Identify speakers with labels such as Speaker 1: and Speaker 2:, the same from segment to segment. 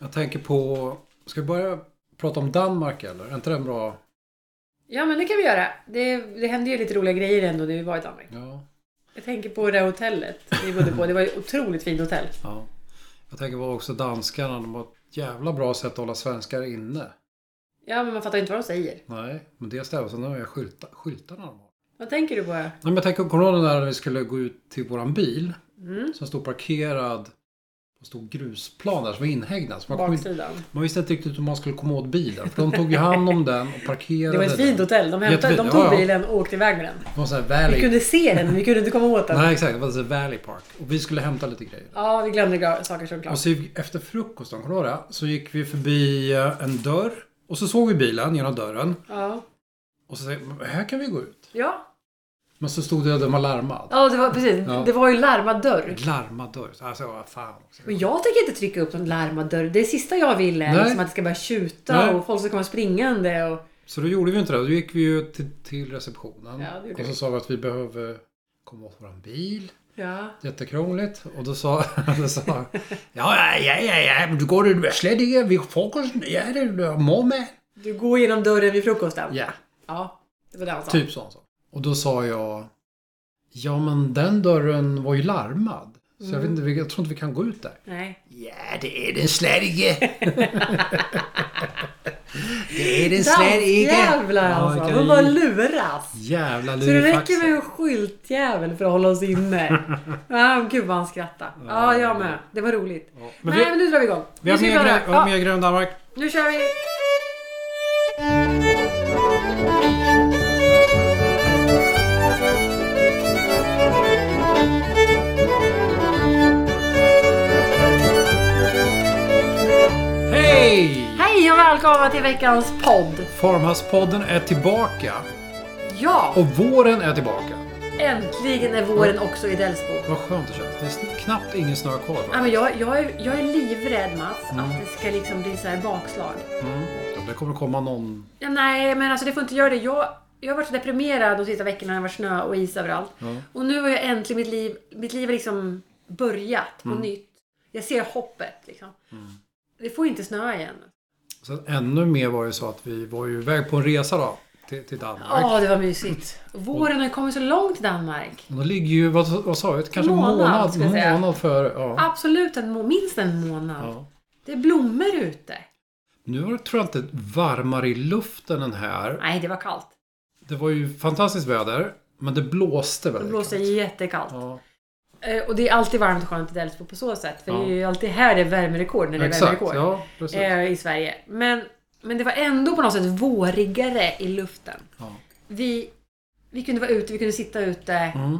Speaker 1: Jag tänker på... Ska vi börja prata om Danmark eller? Är inte det en bra...
Speaker 2: Ja, men det kan vi göra. Det, det hände ju lite roliga grejer ändå när vi var i Danmark.
Speaker 1: Ja.
Speaker 2: Jag tänker på det här hotellet vi bodde på. Det var ju ett otroligt fint hotell.
Speaker 1: ja. Jag tänker på också danskarna. De har ett jävla bra sätt att hålla svenskar inne.
Speaker 2: Ja, men man fattar inte vad de säger.
Speaker 1: Nej, men det stämmer. Sen har jag skylta, skyltarna de har.
Speaker 2: Vad tänker du på?
Speaker 1: Nej, men jag tänker, kommer du ihåg den där när vi skulle gå ut till våran bil?
Speaker 2: Mm.
Speaker 1: Som stod parkerad på en stor grusplan där som var inhägnad. Så man, kom inte,
Speaker 2: Baksidan.
Speaker 1: man visste inte riktigt hur man skulle komma åt bilen. För de tog ju hand om den och parkerade
Speaker 2: Det var ett fint
Speaker 1: den.
Speaker 2: hotell. De, hämtade, de
Speaker 1: Jättefint,
Speaker 2: tog
Speaker 1: ja, ja.
Speaker 2: bilen och åkte iväg med den.
Speaker 1: Det var sån här
Speaker 2: Vi
Speaker 1: valley.
Speaker 2: kunde se den, men vi kunde inte komma åt den.
Speaker 1: Nej, exakt. Det var The Valley Park. Och vi skulle hämta lite grejer.
Speaker 2: Ja, vi glömde gra- saker såklart.
Speaker 1: Och så gick- efter frukosten, kommer du ihåg det? Så gick vi förbi eh, en dörr. Och så såg vi bilen genom dörren.
Speaker 2: Ja.
Speaker 1: Och så säger vi, här kan vi gå ut.
Speaker 2: Ja,
Speaker 1: Men så stod det att den var larmad.
Speaker 2: ja det var, precis.
Speaker 1: Ja.
Speaker 2: Det var ju larmad dörr.
Speaker 1: Larmad dörr. Alltså, vad fan. också.
Speaker 2: Men jag tänker inte trycka upp någon larmad dörr. Det sista jag vill är
Speaker 1: Nej.
Speaker 2: liksom att det ska börja tjuta
Speaker 1: Nej.
Speaker 2: och folk ska komma springande. Och...
Speaker 1: Så då gjorde vi inte det. Då gick vi ju till, till receptionen.
Speaker 2: Ja, det gjorde
Speaker 1: och så
Speaker 2: vi.
Speaker 1: sa vi att vi behöver komma åt våran bil.
Speaker 2: Ja.
Speaker 1: Jättekrångligt. Och då sa... då sa ja, ja, ja, ja, ja, men du går du slet ikke vid frukosten. Ja, det är mamma.
Speaker 2: Du går genom dörren vid frukosten?
Speaker 1: Ja,
Speaker 2: Ja, det var det han sa.
Speaker 1: typ sånt. så. Och då sa jag... Ja, men den dörren var ju larmad. Så jag, vet inte, vi- jag tror inte vi kan gå ut där.
Speaker 2: Nej.
Speaker 1: Ja, det är den slet ikke. det är den slet ikke.
Speaker 2: Dansjävlar
Speaker 1: Ja,
Speaker 2: alltså.
Speaker 1: vilka
Speaker 2: De bara luras.
Speaker 1: Jävla
Speaker 2: Så det
Speaker 1: lurifaxer.
Speaker 2: räcker med en skyltjävel för att hålla oss inne. ah, gud vad han skrattade. Ja, jag med. Det var roligt.
Speaker 1: Ja, men
Speaker 2: Nej,
Speaker 1: vi-
Speaker 2: men nu drar vi igång.
Speaker 1: Vi
Speaker 2: Nu
Speaker 1: har
Speaker 2: ska vi
Speaker 1: mer,
Speaker 2: prata.
Speaker 1: grön, ja.
Speaker 2: Ja,
Speaker 1: mer grön Danmark.
Speaker 2: nu kör vi.
Speaker 1: Hej!
Speaker 2: Hej och välkomna till veckans podd.
Speaker 1: Farmhouse-podden är tillbaka.
Speaker 2: Ja,
Speaker 1: Och våren är tillbaka.
Speaker 2: äntligen är våren också i Delsbo.
Speaker 1: Vad skönt det känns. Det är sn- knappt ingen snö kvar.
Speaker 2: Ja,
Speaker 1: va?
Speaker 2: men jag, jag, är, jag är livrädd Mats att det ska liksom bli så här bakslag.
Speaker 1: Mm. Ja, det kommer komma någon...
Speaker 2: Ja, nej, men alltså det får inte göra det. Jag, jag har varit så deprimerad de sista veckorna när det var snö och is överallt.
Speaker 1: Ja.
Speaker 2: Och nu har jag äntligen mitt liv, mitt liv har liksom börjat på
Speaker 1: Mm.
Speaker 2: nytt. Jag ser hoppet liksom. Det får inte snöa igen.
Speaker 1: Sen ännu mer var ju så att vi var ju iväg på en resa då. Till, till Danmark.
Speaker 2: Ja, det var mysigt. Våren har ju kommit så långt i Danmark.
Speaker 1: Och då ligger ju, vad, vad sa vi? Kanske en
Speaker 2: Månad,
Speaker 1: månad,
Speaker 2: ska jag säga.
Speaker 1: månad före. Ja.
Speaker 2: Absolut en må- minst en månad.
Speaker 1: Ja.
Speaker 2: Det är blommor ute.
Speaker 1: Nu var det, tror jag inte, varmare i luften än här.
Speaker 2: Nej, det var kallt.
Speaker 1: Det var ju fantastiskt väder. Men det blåste
Speaker 2: Det
Speaker 1: väldigt
Speaker 2: blåste
Speaker 1: kallt.
Speaker 2: jättekallt.
Speaker 1: Ja.
Speaker 2: Eh, Och det är alltid varmt och skönt i Delsbo på så sätt. För
Speaker 1: Ja.
Speaker 2: det är ju alltid här det är värmerekord när det är
Speaker 1: Exakt,
Speaker 2: värmerekord.
Speaker 1: ja. Precis.
Speaker 2: eh, i Sverige. Men, men det var ändå på något sätt vårigare i luften.
Speaker 1: Ja.
Speaker 2: Vi, vi kunde vara ute, vi kunde sitta ute.
Speaker 1: Mm.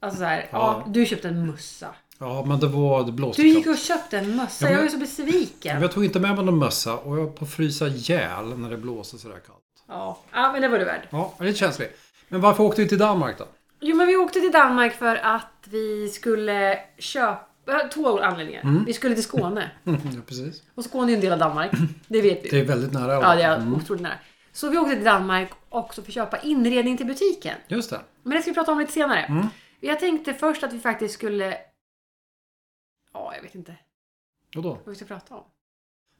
Speaker 2: Alltså så här,
Speaker 1: Ja.
Speaker 2: ja. du köpte en mössa.
Speaker 1: Ja, men det var... Det blåste
Speaker 2: Du gick
Speaker 1: kallt.
Speaker 2: och köpte en
Speaker 1: Ja,
Speaker 2: mössa.
Speaker 1: men-
Speaker 2: Jag var ju så besviken.
Speaker 1: Men jag tog inte med mig någon mössa och jag höll på att frysa ihjäl när det blåser sådär kallt.
Speaker 2: Ja. ja, men det var du värd.
Speaker 1: Ja, det är lite känsligt. Men varför åkte vi till Danmark då?
Speaker 2: Jo, men vi åkte till Danmark för att vi skulle köpa... äh, Två anledningar.
Speaker 1: Mm.
Speaker 2: Vi skulle till Skåne.
Speaker 1: Ja, precis.
Speaker 2: Och Skåne är ju en del av Danmark. Det vet vi.
Speaker 1: Det är väldigt nära.
Speaker 2: Ja, det är
Speaker 1: Mm.
Speaker 2: otroligt nära. Så vi åkte till Danmark också för att köpa inredning till butiken.
Speaker 1: Just det.
Speaker 2: Men det ska vi prata om lite senare.
Speaker 1: Mm.
Speaker 2: Jag tänkte först att vi faktiskt skulle... Ja, jag vet inte
Speaker 1: Och då?
Speaker 2: vad vi ska prata om.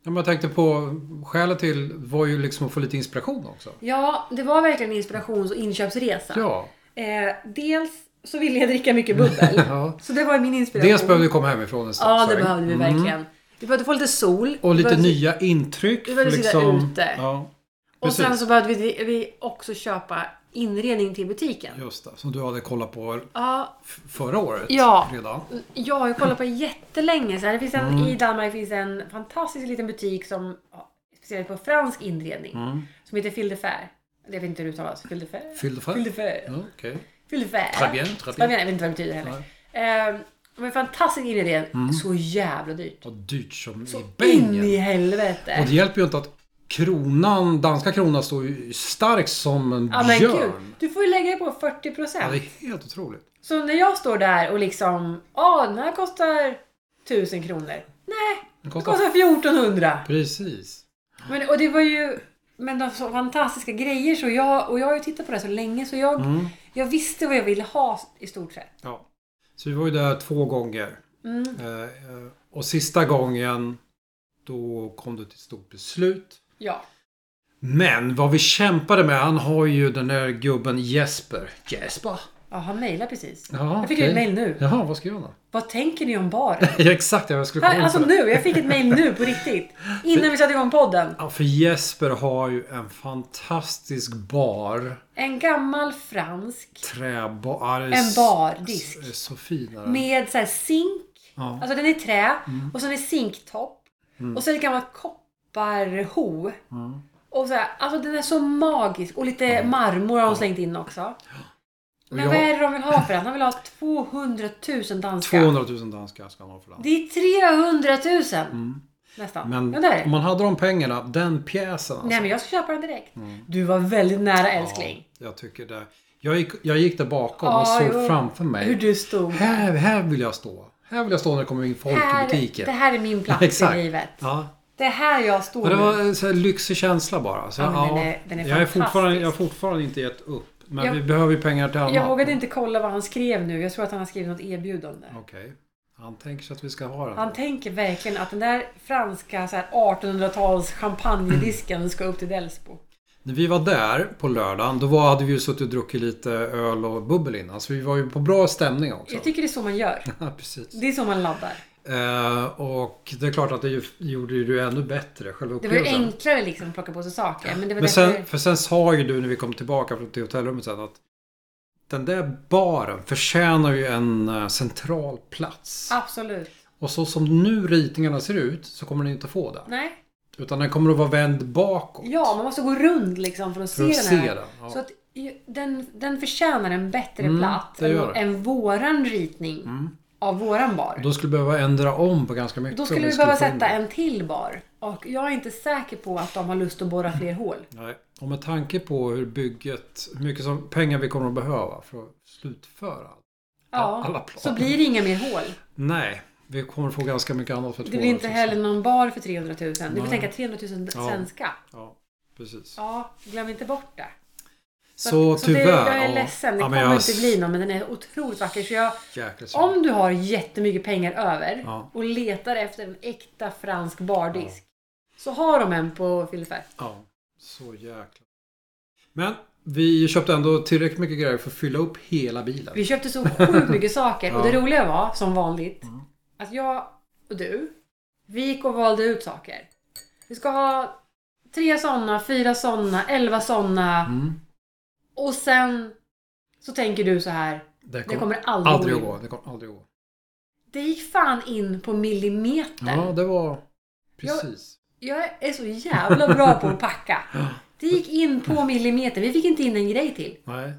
Speaker 1: Ja, men jag tänkte på... Skälet till var ju liksom att få lite inspiration också.
Speaker 2: Ja, det var verkligen en inspirations och inköpsresa.
Speaker 1: Ja.
Speaker 2: Eh, dels så ville jag dricka mycket bubbel.
Speaker 1: ja.
Speaker 2: så det var min inspiration.
Speaker 1: Dels behövde vi komma hemifrån en
Speaker 2: Ja, det
Speaker 1: sväng.
Speaker 2: behövde vi
Speaker 1: Mm.
Speaker 2: verkligen. Vi behövde få lite sol.
Speaker 1: Och
Speaker 2: Vi
Speaker 1: lite
Speaker 2: behövde-
Speaker 1: nya intryck. liksom.
Speaker 2: Vi behövde sitta ute.
Speaker 1: Ja,
Speaker 2: Och sen
Speaker 1: precis.
Speaker 2: så behövde vi, vi också köpa inredning till butiken.
Speaker 1: Just det. Som du hade kollat på
Speaker 2: Ja,
Speaker 1: f- förra året
Speaker 2: Ja.
Speaker 1: redan.
Speaker 2: Ja, jag har kollat på det jättelänge. Så här, det finns en,
Speaker 1: Mm.
Speaker 2: I Danmark finns en fantastisk liten butik som ja, speciellt på fransk inredning.
Speaker 1: Mm.
Speaker 2: Som heter Fildefair. Jag vet inte hur det uttalas. Fildefair?
Speaker 1: Fyllde för?
Speaker 2: Fildefair.
Speaker 1: Ja, Okej.
Speaker 2: Fildefair.
Speaker 1: Très bien, très
Speaker 2: Jag
Speaker 1: bien.
Speaker 2: vet inte vad det betyder heller. Ehm, men fantastisk inredning.
Speaker 1: Mm.
Speaker 2: Så jävla dyrt.
Speaker 1: Vad dyrt som i
Speaker 2: In
Speaker 1: bängen.
Speaker 2: i
Speaker 1: Och
Speaker 2: helvete.
Speaker 1: det hjälper ju inte att kronan, danska kronan står ju stark som en
Speaker 2: Ja men gud.
Speaker 1: björn.
Speaker 2: Du får ju lägga dig på 40 procent.
Speaker 1: Ja, det är helt otroligt.
Speaker 2: Så när jag står där och liksom, ja den här kostar 1000 kronor. Nej,
Speaker 1: Den
Speaker 2: den
Speaker 1: kostar...
Speaker 2: kostar 1400.
Speaker 1: Precis.
Speaker 2: Men, och det var ju men de så fantastiska grejer. Så jag, och jag har ju tittat på det här så länge så jag,
Speaker 1: Mm.
Speaker 2: jag visste vad jag ville ha i stort sett.
Speaker 1: Ja. Så vi var ju där två gånger.
Speaker 2: Mm.
Speaker 1: Eh, eh, och sista gången, då kom det till ett stort beslut.
Speaker 2: Ja.
Speaker 1: Men vad vi kämpade med, han har ju den där gubben Jesper. Jesper?
Speaker 2: ja, han mejlade precis.
Speaker 1: Ja,
Speaker 2: jag fick
Speaker 1: okej.
Speaker 2: ett mejl nu.
Speaker 1: Jaha, vad ska jag göra?
Speaker 2: Vad tänker ni om bar?
Speaker 1: Ja, exakt, jag skulle komma in
Speaker 2: Alltså
Speaker 1: på det.
Speaker 2: nu, jag fick ett mejl nu på riktigt. Innan vi satte igång podden.
Speaker 1: Ja, för Jesper har ju en fantastisk bar.
Speaker 2: En gammal fransk
Speaker 1: Träbar.
Speaker 2: En bardisk.
Speaker 1: Så, så fin är den.
Speaker 2: med så här zink.
Speaker 1: Ja.
Speaker 2: Alltså den är trä
Speaker 1: Mm.
Speaker 2: och sen är zinktopp. Och sen ett gammalt kopparho.
Speaker 1: Mm.
Speaker 2: Och så här, alltså den är så magisk. Och lite marmor har hon slängt in också.
Speaker 1: Och
Speaker 2: Men
Speaker 1: Mm. jag-
Speaker 2: vad är det de vill ha för den? Han vill ha 200 000 danska.
Speaker 1: 200 000 danska ska han ha för den.
Speaker 2: Det är 300 000! Nästan.
Speaker 1: Mm. Men
Speaker 2: ja, där är
Speaker 1: om
Speaker 2: det.
Speaker 1: man hade de pengarna, den pjäsen alltså.
Speaker 2: Nej men jag ska köpa den direkt. Du var väldigt nära älskling.
Speaker 1: Mm. Ja, jag tycker det. Jag gick, jag gick där bakom och
Speaker 2: Ja,
Speaker 1: såg
Speaker 2: jo.
Speaker 1: framför mig.
Speaker 2: Hur du stod.
Speaker 1: Här, här vill jag stå. Här vill jag stå när det kommer in folk i
Speaker 2: Här,
Speaker 1: butiken.
Speaker 2: det här är min plats
Speaker 1: Exakt.
Speaker 2: i livet.
Speaker 1: Ja.
Speaker 2: Det är här jag står
Speaker 1: Men det
Speaker 2: nu.
Speaker 1: var en så här lyxig känsla bara. Så,
Speaker 2: Ja,
Speaker 1: ja,
Speaker 2: men den är- den är
Speaker 1: jag, är
Speaker 2: fantastisk.
Speaker 1: fortfarande, jag har fortfarande inte gett upp. Men
Speaker 2: Jag-
Speaker 1: vi behöver ju pengar till annat.
Speaker 2: Jag vågade inte kolla vad han skrev nu. Jag tror att han har skrivit något erbjudande.
Speaker 1: Okej. Han tänker sig att vi ska ha den.
Speaker 2: Han tänker verkligen att den där franska så här 1800-tals champagnedisken ska upp till Delsbo.
Speaker 1: När vi var där på lördagen, då var, hade vi ju suttit och druckit lite öl och bubbel innan. Så vi var ju på bra stämning också.
Speaker 2: Jag tycker det är så man gör.
Speaker 1: Ja, precis.
Speaker 2: Det är så man laddar.
Speaker 1: Eh, och det är klart att det ju- gjorde ju du ännu bättre, själva
Speaker 2: Det var ju
Speaker 1: upplevelsen.
Speaker 2: enklare liksom att plocka på sig saker. Men det var
Speaker 1: Men sen,
Speaker 2: därför-
Speaker 1: för sen sa ju du när vi kom tillbaka från till hotellrummet sen att den där baren förtjänar ju en eh, central plats.
Speaker 2: Absolut.
Speaker 1: Och så som nu ritningarna ser ut så kommer den inte få det.
Speaker 2: Nej.
Speaker 1: Utan den kommer att vara vänd bakåt.
Speaker 2: Ja, man måste gå runt liksom för att
Speaker 1: För att
Speaker 2: se den
Speaker 1: se
Speaker 2: här.
Speaker 1: den, ja. Mm,
Speaker 2: Så att ju- den, den förtjänar en bättre plats
Speaker 1: det gör
Speaker 2: än,
Speaker 1: den.
Speaker 2: än våran ritning av våran bar.
Speaker 1: Då skulle vi behöva ändra om på ganska mycket.
Speaker 2: Då
Speaker 1: om
Speaker 2: skulle vi behöva
Speaker 1: få in
Speaker 2: sätta
Speaker 1: den.
Speaker 2: en till bar. Och jag är inte säker på att de har lust att borra fler hål.
Speaker 1: Nej. Och med tanke på hur bygget, hur mycket som, pengar vi kommer att behöva för att slutföra. allt. alla
Speaker 2: Ja,
Speaker 1: planer.
Speaker 2: så blir det inga mer hål.
Speaker 1: Nej, vi kommer få ganska mycket annat för
Speaker 2: Det blir inte
Speaker 1: 200 000.
Speaker 2: heller någon bar för 300 000. Du får
Speaker 1: Nej.
Speaker 2: tänka 300 000 svenska.
Speaker 1: Ja, precis.
Speaker 2: Ja, glöm inte bort det.
Speaker 1: Så,
Speaker 2: så
Speaker 1: tyvärr.
Speaker 2: Det, jag är
Speaker 1: ja.
Speaker 2: ledsen, det
Speaker 1: Ja, men
Speaker 2: kommer
Speaker 1: jag-
Speaker 2: inte bli någon. Men den är otroligt vacker. Så jag,
Speaker 1: Jäkla synd.
Speaker 2: om du har jättemycket pengar över
Speaker 1: Ja.
Speaker 2: och letar efter en äkta fransk bardisk. Så har de en på Filifär.
Speaker 1: Ja, så jäkla. Men vi köpte ändå tillräckligt mycket grejer för att fylla upp hela bilen.
Speaker 2: Vi köpte så sjukt mycket saker. Och det
Speaker 1: Ja. Mm.
Speaker 2: roliga var, som vanligt, att jag och du, vi gick och valde ut saker. Vi ska ha tre sådana, fyra sådana, elva sådana.
Speaker 1: Mm.
Speaker 2: Och sen så tänker du så här,
Speaker 1: Det
Speaker 2: det
Speaker 1: kommer
Speaker 2: kommer aldrig,
Speaker 1: aldrig att
Speaker 2: in.
Speaker 1: gå. Det kommer aldrig att gå.
Speaker 2: Det gick fan in på millimeter.
Speaker 1: Ja, det var
Speaker 2: Jag-
Speaker 1: precis.
Speaker 2: Jag är så jävla bra på att packa. Det gick in på millimeter. Vi fick inte in en grej till.
Speaker 1: Nej.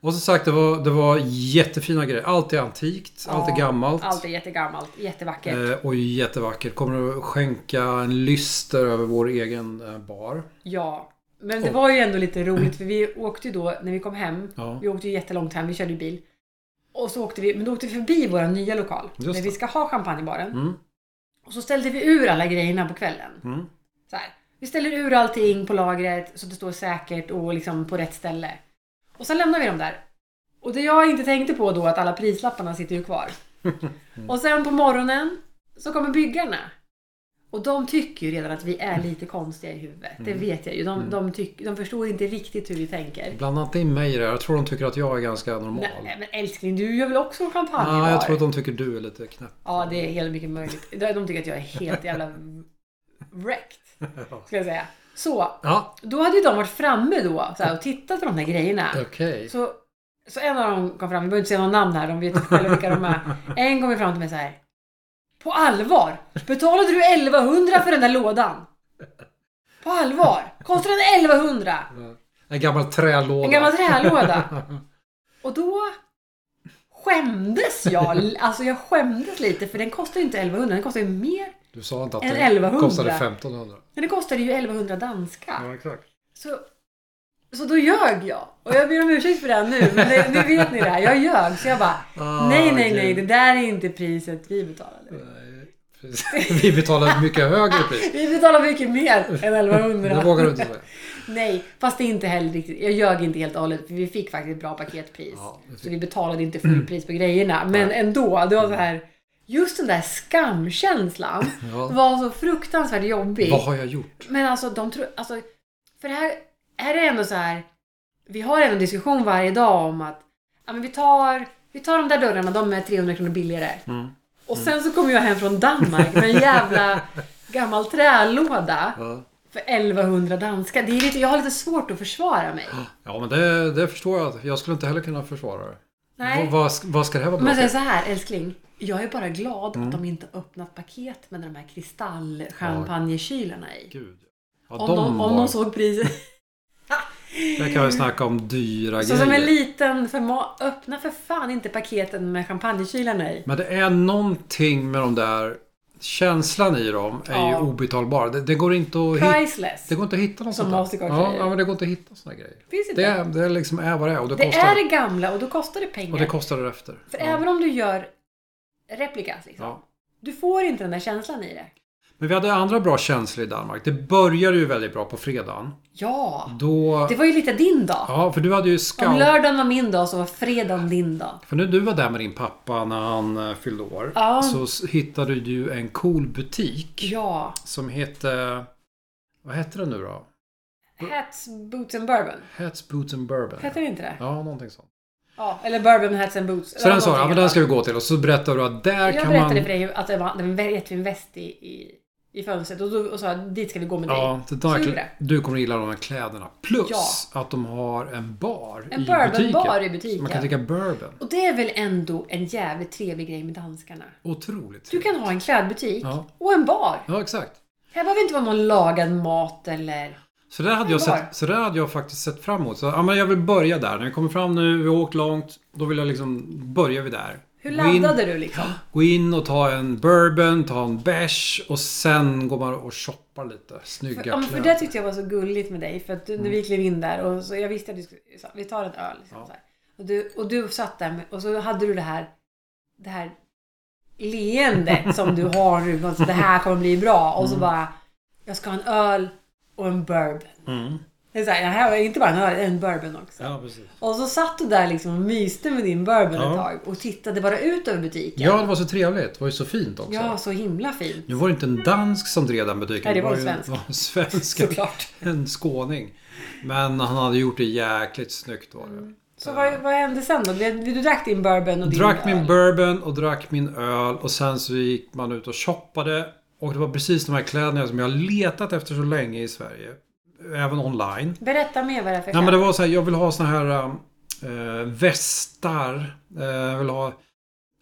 Speaker 1: Och som sagt, det var, det var jättefina grejer. Allt är antikt, allt är
Speaker 2: Ja,
Speaker 1: gammalt.
Speaker 2: Allt är jättegammalt, jättevackert.
Speaker 1: Eh, och jättevackert. Kommer att skänka en lyster över vår egen eh, bar.
Speaker 2: Ja, men det var ju ändå lite roligt för vi åkte ju då när vi kom hem.
Speaker 1: Ja.
Speaker 2: Vi åkte ju jättelångt hem, vi körde ju bil. Och så åkte vi, men då åkte vi förbi vår nya lokal.
Speaker 1: Just
Speaker 2: där
Speaker 1: det.
Speaker 2: vi ska ha champagnebaren.
Speaker 1: Mm.
Speaker 2: Och så ställde vi ur alla grejerna på kvällen.
Speaker 1: Mm.
Speaker 2: Så här. Vi ställer ur allting på lagret så att det står säkert och liksom på rätt ställe. Och sen lämnar vi dem där. Och det jag inte tänkte på då att alla prislapparna sitter ju kvar. Och sen på morgonen så kommer byggarna. Och de tycker ju redan att vi är lite konstiga i huvudet. Det
Speaker 1: Mm.
Speaker 2: vet jag ju. De, de, tyck, de förstår inte riktigt hur vi tänker.
Speaker 1: Blanda inte in mig i det här. Jag tror de tycker att jag är ganska normal.
Speaker 2: Nej, men älskling, du gör väl också champagne
Speaker 1: Ja,
Speaker 2: var?
Speaker 1: jag tror att de tycker du är lite knäpp.
Speaker 2: Ja, det är helt mycket möjligt. De tycker att jag är helt jävla wrecked. Ska jag säga. Så,
Speaker 1: Ja,
Speaker 2: Då hade ju de varit framme då så här, och tittat på de här grejerna.
Speaker 1: okej.
Speaker 2: Så, så en av dem kom fram, vi behöver inte säga några namn här, de vet ju själva vilka de är. En kom ju fram till mig så här. På allvar? Betalade du 1100 för den där lådan? På allvar? Kostade den 1100?
Speaker 1: En gammal trälåda.
Speaker 2: En gammal trälåda? Och då skämdes jag. Alltså jag skämdes lite för den kostar ju inte 1100, den kostar ju mer.
Speaker 1: Du sa inte att
Speaker 2: En
Speaker 1: det
Speaker 2: 1100.
Speaker 1: kostade 1500.
Speaker 2: Men den kostade ju 1100 danska.
Speaker 1: exakt.
Speaker 2: Så, så då ljög jag. Och jag ber om ursäkt för det här nu, men det, nu vet ni det här. Jag ljög. Så jag bara,
Speaker 1: Ah,
Speaker 2: nej, nej, nej,
Speaker 1: gud.
Speaker 2: det där är inte priset vi betalade.
Speaker 1: Vi betalade ett mycket högre pris.
Speaker 2: Vi betalar mycket mer än
Speaker 1: Det vågar du
Speaker 2: 1100.
Speaker 1: inte säga.
Speaker 2: Nej, fast det är inte heller riktigt. Jag ljög inte helt och hållet, för vi fick faktiskt ett bra paketpris.
Speaker 1: Ja, Mm. det fick Mm.
Speaker 2: Så vi betalade inte fullpris på grejerna. Men ändå, det var så här. Just den där skamkänslan
Speaker 1: Ja.
Speaker 2: var så fruktansvärt jobbig.
Speaker 1: Vad har jag gjort?
Speaker 2: Men alltså, de tror... Alltså, för det här, här är ändå så här... Vi har ändå en diskussion varje dag om att ja, men vi, tar, vi tar de där dörrarna, de är 300 kronor billigare.
Speaker 1: Mm.
Speaker 2: Och sen så kom jag hem från Danmark med en jävla gammal trälåda
Speaker 1: Ja.
Speaker 2: för 1100 danska. Det är lite, jag har lite svårt att försvara mig.
Speaker 1: Ja, men det, det förstår jag. Jag skulle inte heller kunna försvara det.
Speaker 2: Nej.
Speaker 1: Vad- Vad, ska- vad ska det här vara bra
Speaker 2: Men sen
Speaker 1: för?
Speaker 2: så här, älskling. Jag är bara glad
Speaker 1: Mm.
Speaker 2: att de inte har öppnat paket med de här kristallchampagnekylarna i.
Speaker 1: Gud. Ja,
Speaker 2: Om,
Speaker 1: de,
Speaker 2: de, om
Speaker 1: var,
Speaker 2: de såg priset.
Speaker 1: Där kan vi snacka om dyra
Speaker 2: Så
Speaker 1: grejer.
Speaker 2: som en liten förma... Öppna för fan inte paketen med champagnekylarna i.
Speaker 1: Men det är någonting med de där... Känslan i dem är ju
Speaker 2: Ja.
Speaker 1: obetalbar. Det, det, går inte att hitta,
Speaker 2: Priceless.
Speaker 1: det går inte att hitta något
Speaker 2: Som
Speaker 1: sånt där.
Speaker 2: Mastercard
Speaker 1: ja,
Speaker 2: säger.
Speaker 1: ja, men det går inte att hitta såna grejer.
Speaker 2: Finns inte.
Speaker 1: Det, är- det liksom är vad det är och det,
Speaker 2: Det
Speaker 1: kostar.
Speaker 2: är det gamla och då kostar det pengar.
Speaker 1: Och det kostar därefter.
Speaker 2: För
Speaker 1: Ja.
Speaker 2: även om du gör replikas liksom.
Speaker 1: Ja.
Speaker 2: Du får inte den där känslan i det.
Speaker 1: Men vi hade andra bra känslor i Danmark. Det började ju väldigt bra på fredagen.
Speaker 2: Ja!
Speaker 1: Då...
Speaker 2: Det var ju lite din dag.
Speaker 1: Ja, för du hade ju
Speaker 2: Om
Speaker 1: scout...
Speaker 2: lördagen var min dag så var fredagen din dag.
Speaker 1: För när du var där med din pappa när han eh, fyllde år.
Speaker 2: Ja.
Speaker 1: Så s- hittade du ju en cool butik.
Speaker 2: Ja.
Speaker 1: Som hette... Vad hette den nu då?
Speaker 2: Hats, boots and bourbon.
Speaker 1: Hats, Boots and Bourbon.
Speaker 2: Hette det inte det? Ja.
Speaker 1: Ja, någonting sånt.
Speaker 2: Eller bourbon, hats and boots.
Speaker 1: Så den sa ja
Speaker 2: någonting
Speaker 1: men
Speaker 2: i alla
Speaker 1: den ska
Speaker 2: fall.
Speaker 1: vi gå till. Och så berättade du att där
Speaker 2: Jag
Speaker 1: kan
Speaker 2: berättade
Speaker 1: man...
Speaker 2: för dig att det var, det var en jättefin väst i, i, i fönstret och, då, och sa dit ska vi gå med dig.
Speaker 1: Ja, det
Speaker 2: Så
Speaker 1: där,
Speaker 2: gjorde det.
Speaker 1: du kommer gilla de här kläderna. Plus
Speaker 2: Ja.
Speaker 1: att de har en bar
Speaker 2: En
Speaker 1: i
Speaker 2: bourbonbar
Speaker 1: butiken.
Speaker 2: i
Speaker 1: Så
Speaker 2: butiken.
Speaker 1: man kan dricka bourbon.
Speaker 2: Och det är väl ändå en jävligt trevlig grej med danskarna.
Speaker 1: Otroligt
Speaker 2: Du kan ha en klädbutik
Speaker 1: Ja.
Speaker 2: och en bar.
Speaker 1: Ja, exakt.
Speaker 2: Här behöver inte vara någon lagad mat eller...
Speaker 1: Så där, hade jag
Speaker 2: Underbar.
Speaker 1: sett, så där hade jag faktiskt sett fram emot. Så, ja, men jag vill börja där. När vi kommer fram nu, vi har åkt långt. Då vill jag liksom, börja vi där.
Speaker 2: Hur
Speaker 1: Gå in-
Speaker 2: laddade du liksom?
Speaker 1: Gå in och ta en bourbon, ta en bärs och sen går man och shoppar lite. Snygga
Speaker 2: För, ja, men för
Speaker 1: kläder.
Speaker 2: det tyckte jag var så gulligt med dig. För att du, när vi klev in där och så, jag visste att du skulle, så, vi tar en öl. Liksom,
Speaker 1: Mm. Ja.
Speaker 2: så här. Och, du, och du satt där med, och så hade du det här, det här leendet som du har nu. Alltså, det här kommer bli bra. Och så bara, jag ska ha en öl och en bourbon.
Speaker 1: Mm.
Speaker 2: Det är så här, det här var inte bara en öl, en bourbon också.
Speaker 1: Ja, precis.
Speaker 2: Och så satt du där liksom och myste med din bourbon
Speaker 1: Ja.
Speaker 2: ett tag och tittade bara ut över butiken.
Speaker 1: Ja, det var så trevligt. Det var ju så fint också.
Speaker 2: Ja, så himla fint.
Speaker 1: Nu var det inte en dansk som drev den butiken.
Speaker 2: Nej, det var en
Speaker 1: ju-
Speaker 2: svensk.
Speaker 1: var en svensk.
Speaker 2: Såklart.
Speaker 1: En skåning. Men han hade gjort det jäkligt snyggt var det.
Speaker 2: Så vad, vad hände sen då? Du, du drack din bourbon och din
Speaker 1: Drack
Speaker 2: öl.
Speaker 1: min bourbon och drack min öl och sen så gick man ut och shoppade. Och det var precis de här kläderna som jag har letat efter så länge i Sverige. Även online.
Speaker 2: Berätta mer vad det är för
Speaker 1: Nej men
Speaker 2: kläder.
Speaker 1: det var så här, jag vill ha såna här äh, västar. Eh, jag vill ha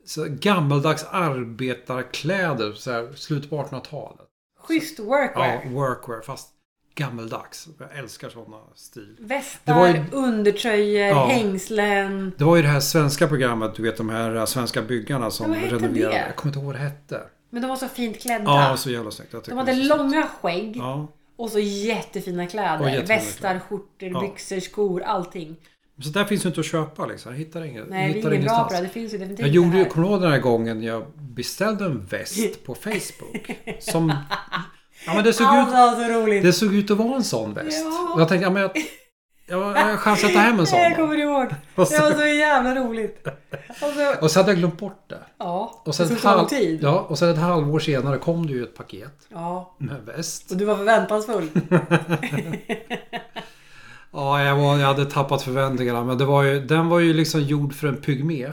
Speaker 1: så här gammaldags arbetarkläder. Så här, slutet på 1800-talet.
Speaker 2: Schysst workwear.
Speaker 1: Ja, workwear fast gammaldags. Jag älskar såna stil.
Speaker 2: Västar,
Speaker 1: Det var ju-
Speaker 2: undertröjor,
Speaker 1: Ja.
Speaker 2: hängslen.
Speaker 1: Det var ju det här svenska programmet, du vet de här eh, svenska byggarna som
Speaker 2: Ja, vad hette
Speaker 1: renoverade.
Speaker 2: det?
Speaker 1: Jag kommer inte ihåg vad det hette.
Speaker 2: Men de var så fint klädda.
Speaker 1: Ja, så jävla snyggt. Jag
Speaker 2: de
Speaker 1: tycker
Speaker 2: hade
Speaker 1: det var så snyggt.
Speaker 2: långa skägg
Speaker 1: Ja.
Speaker 2: och så jättefina kläder.
Speaker 1: Och jättefina
Speaker 2: Västar,
Speaker 1: kläder.
Speaker 2: skjortor,
Speaker 1: Ja.
Speaker 2: byxor, skor, allting.
Speaker 1: Men Så där finns ju inte att köpa liksom. Jag hittar inget.
Speaker 2: Nej, det
Speaker 1: hittar
Speaker 2: är ingen bra
Speaker 1: ingenstans.
Speaker 2: på det. här. Det finns ju definitivt
Speaker 1: Jag gjorde ju,
Speaker 2: det här.
Speaker 1: kommer du ihåg den här gången jag beställde en väst på Facebook? Som... Ja men det såg ut,
Speaker 2: Allt var så roligt.
Speaker 1: det såg ut att vara en sån väst.
Speaker 2: Alltså- Ja.
Speaker 1: Och jag tänkte, ja men jag... Jag jag har chans att ta hem en sån.
Speaker 2: Jag kommer ihåg.
Speaker 1: Och
Speaker 2: Det var
Speaker 1: så,
Speaker 2: så jävla roligt. Och så,
Speaker 1: och så hade jag glömt bort det.
Speaker 2: ja,
Speaker 1: Och sen,
Speaker 2: det
Speaker 1: ett
Speaker 2: tog sån
Speaker 1: halv,
Speaker 2: tid.
Speaker 1: ja, och sen ett halvår senare kom det ju ett paket
Speaker 2: Ja.
Speaker 1: med en väst.
Speaker 2: Och du var förväntansfull.
Speaker 1: Ja, jag, var, jag hade tappat förväntningarna. Men det var ju, den var ju liksom gjord för en pygmé.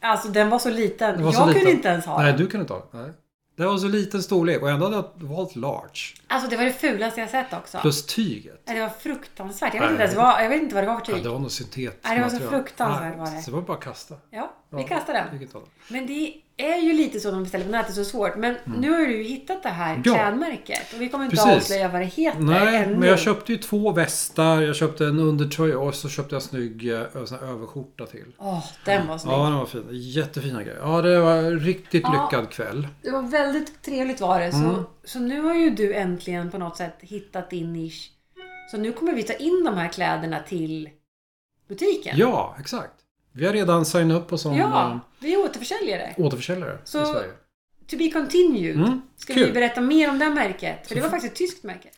Speaker 2: Alltså den var så liten.
Speaker 1: Den var så
Speaker 2: jag kunde
Speaker 1: liten.
Speaker 2: inte ens ha
Speaker 1: Nej,
Speaker 2: den.
Speaker 1: du kan inte ha den. Nej. Det var så liten storlek och ändå hade jag valt large.
Speaker 2: Alltså det var det fulaste jag sett också.
Speaker 1: Plus tyget.
Speaker 2: Nej, Det var fruktansvärt. Jag
Speaker 1: Nej.
Speaker 2: vet, inte ens vad, jag vet inte vad det var för
Speaker 1: Ja,
Speaker 2: tyg.
Speaker 1: det var något syntet.
Speaker 2: Nej, det var så
Speaker 1: material.
Speaker 2: fruktansvärt
Speaker 1: Nej,
Speaker 2: var det.
Speaker 1: Så det var bara att kasta.
Speaker 2: Ja, vi
Speaker 1: Ja,
Speaker 2: kastar den.
Speaker 1: vilket håll.
Speaker 2: Men det är ju lite så de beställer på nätet, så svårt. Men nu har du ju hittat det här
Speaker 1: Mm. Ja.
Speaker 2: klädmärket. Och vi kommer inte
Speaker 1: Precis.
Speaker 2: avslöja vad det heter
Speaker 1: Nej,
Speaker 2: ännu.
Speaker 1: men jag köpte ju två västar. Jag köpte en undertröja och så köpte jag en snygg eh, sån här överskjorta till.
Speaker 2: Åh, den var snygg.
Speaker 1: Ja, den var fin. Jättefina grejer. Ja, det var en riktigt
Speaker 2: Ja.
Speaker 1: lyckad kväll.
Speaker 2: Det var väldigt trevligt var det. Så,
Speaker 1: Mm.
Speaker 2: så nu har ju du äntligen på något sätt hittat din nisch. Så nu kommer vi ta in de här kläderna till butiken.
Speaker 1: Ja, exakt. Vi har redan signat upp oss som
Speaker 2: ja vi är återförsäljare.
Speaker 1: eh, återförsäljare i
Speaker 2: Så-
Speaker 1: Sverige.
Speaker 2: To be continued.
Speaker 1: Mm,
Speaker 2: Ska
Speaker 1: kul.
Speaker 2: vi berätta mer om det här märket? För det var faktiskt ett tyskt märke.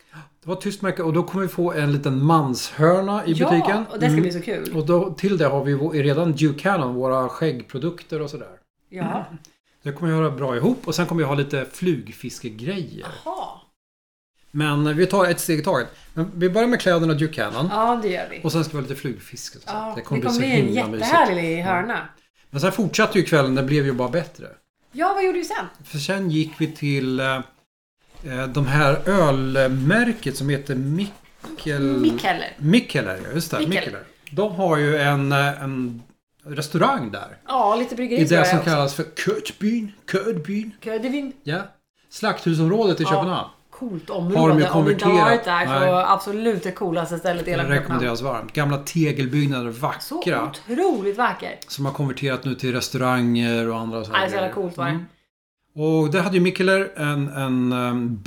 Speaker 1: Det var ett tyst märke och då kommer vi få en liten manshörna i butiken. Mm.
Speaker 2: Ja, och det ska bli så kul.
Speaker 1: Och då, till det har vi vår- redan Duke Cannon, våra skäggprodukter och sådär.
Speaker 2: Ja.
Speaker 1: Det kommer jag göra bra ihop och sen kommer jag ha lite flugfiskegrejer.
Speaker 2: Jaha.
Speaker 1: Men vi tar ett steg i taget. Men vi börjar med kläderna och Duke Cannon.
Speaker 2: Ja, det gör vi.
Speaker 1: Och sen ska vi ha lite flugfiske. Så
Speaker 2: Ja,
Speaker 1: det kommer
Speaker 2: det
Speaker 1: bli så
Speaker 2: kommer bli en
Speaker 1: himla mysigt.
Speaker 2: jättehärlig hörna.
Speaker 1: Men sen fortsatte ju kvällen. Det blev ju bara bättre.
Speaker 2: Ja, vad gjorde vi sen?
Speaker 1: För sen gick vi till eh, eh, de här ölmärket som heter Mikkel...
Speaker 2: Mikkeller.
Speaker 1: Mikkeler, ja. Just det.
Speaker 2: Mikkeler.
Speaker 1: Mikkeler. De har ju en, eh, en restaurang där.
Speaker 2: Ja, lite
Speaker 1: I
Speaker 2: bryggeri tror
Speaker 1: det som
Speaker 2: jag också.
Speaker 1: kallas för Kötbyn. Ködbyn.
Speaker 2: Ködevin.
Speaker 1: Ja. Slakthusområdet i
Speaker 2: Ja.
Speaker 1: Köpenhamn.
Speaker 2: Coolt område.
Speaker 1: Har de ju
Speaker 2: Om du inte har varit där
Speaker 1: konverterat?
Speaker 2: så absolut det coolaste stället i hela
Speaker 1: Det
Speaker 2: Köpenhamn.
Speaker 1: rekommenderas varmt. Gamla tegelbyggnader,
Speaker 2: Så
Speaker 1: vackra.
Speaker 2: otroligt vacker.
Speaker 1: Som har konverterat nu till restauranger och andra så här
Speaker 2: Nej, så jävla
Speaker 1: grejer.
Speaker 2: coolt var det.
Speaker 1: Mm. Och där hade ju Mikkeler en, en um,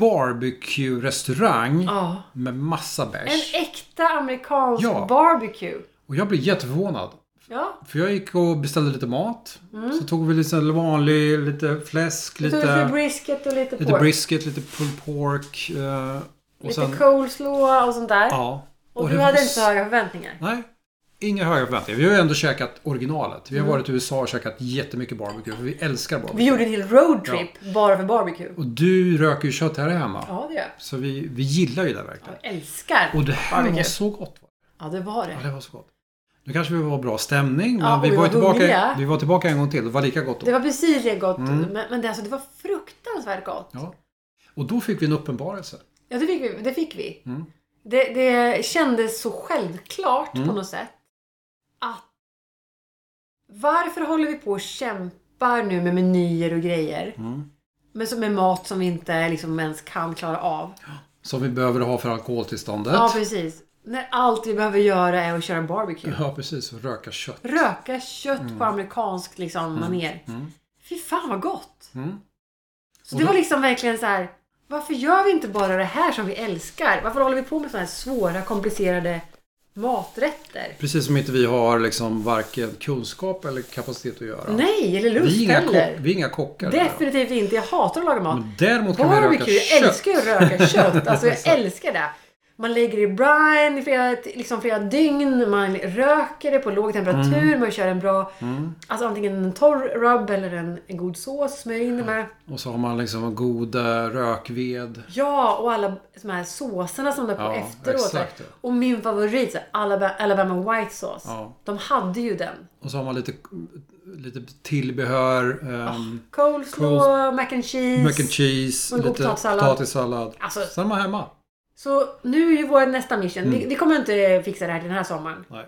Speaker 1: barbecue-restaurang
Speaker 2: Ja.
Speaker 1: med massa bärs.
Speaker 2: En äkta amerikansk
Speaker 1: Ja.
Speaker 2: barbecue.
Speaker 1: Och jag blev jätteförvånad.
Speaker 2: Ja,
Speaker 1: För jag gick och beställde lite mat. Så tog vi lite sån vanlig, lite fläsk,
Speaker 2: lite, Mm. lite
Speaker 1: lite,
Speaker 2: brisket och lite,
Speaker 1: lite
Speaker 2: pork.
Speaker 1: brisket, lite pulled pork. eh, och
Speaker 2: lite
Speaker 1: sen,
Speaker 2: coleslaw och sånt där.
Speaker 1: ja.
Speaker 2: och,
Speaker 1: det
Speaker 2: du
Speaker 1: var
Speaker 2: hade
Speaker 1: s-
Speaker 2: inte så höga förväntningar.
Speaker 1: Nej. Inga höga förväntningar. Vi har ju ändå käkat originalet. Vi har varit i USA och käkat jättemycket barbecue. För vi älskar
Speaker 2: Mm. Vi
Speaker 1: barbecue.
Speaker 2: gjorde en hel roadtrip bara för barbecue.
Speaker 1: Och du röker ju kött här hemma.
Speaker 2: Ja, det gör jag.
Speaker 1: Så vi, vi gillar ju det verkligen.
Speaker 2: Jag älskar
Speaker 1: Och det här var
Speaker 2: barbecue.
Speaker 1: så gott. va?
Speaker 2: Ja, det var
Speaker 1: Ja,
Speaker 2: det.
Speaker 1: det var så gott. Nu kanske vi var bra stämning, men
Speaker 2: Ja, och
Speaker 1: vi,
Speaker 2: vi
Speaker 1: var ju
Speaker 2: var
Speaker 1: tillbaka,
Speaker 2: hungriga.
Speaker 1: vi var tillbaka en gång till. Det var lika gott då.
Speaker 2: Det var precis det gott.
Speaker 1: Mm.
Speaker 2: Men, men det, alltså, det var fruktansvärt gott. Ja,
Speaker 1: Ja. Och då fick vi en uppenbarelse.
Speaker 2: det fick vi. Det, fick vi. Det, det kändes så självklart på något sätt. Att varför håller vi på och kämpar nu med menyer och grejer? Men som med mat som vi inte liksom ens kan klara av.
Speaker 1: Som vi behöver ha för alkoholtillståndet.
Speaker 2: Ja, precis. När allt vi behöver göra är att köra barbecue.
Speaker 1: Ja, precis. Och röka kött.
Speaker 2: Röka kött
Speaker 1: Mm.
Speaker 2: på amerikanskt liksom manér. Fy fan vad gott!
Speaker 1: Mm.
Speaker 2: Så det var liksom verkligen så här. Varför gör vi inte bara det här som vi älskar? Varför håller vi på med sådana här svåra, komplicerade maträtter?
Speaker 1: Precis som inte vi har liksom varken kunskap eller kapacitet att göra.
Speaker 2: Nej, eller lust
Speaker 1: vi, är inga kock,
Speaker 2: heller.
Speaker 1: vi är inga kockar.
Speaker 2: Definitivt inte. Jag hatar att laga mat.
Speaker 1: Men däremot kan vi röka
Speaker 2: Barbecue, jag
Speaker 1: kött.
Speaker 2: älskar ju att röka kött. Alltså jag älskar det. Man lägger det i brine i flera, liksom flera dygn, man röker det på låg temperatur,
Speaker 1: Mm.
Speaker 2: man kör en bra, alltså antingen en torr rub eller en, en god sås, smörjer in det med.
Speaker 1: Och så har man liksom en god eh, rökved.
Speaker 2: Ja, och alla de här såserna som de på
Speaker 1: Ja,
Speaker 2: efteråt.
Speaker 1: exakt, ja.
Speaker 2: Och min favorit, så här, Alaba- Alabama White Sauce.
Speaker 1: Ja.
Speaker 2: De hade ju den.
Speaker 1: Och så har man lite, lite tillbehör. ehm,
Speaker 2: Coleslaw, mac and cheese.
Speaker 1: Mac and cheese,
Speaker 2: Ah, Och en god
Speaker 1: lite
Speaker 2: potatissallad.
Speaker 1: potatissallad.
Speaker 2: Alltså-
Speaker 1: Samma hemma.
Speaker 2: Så nu är ju vår nästa mission.
Speaker 1: Mm.
Speaker 2: Vi, vi kommer inte fixa det här till den här sommaren.
Speaker 1: Nej.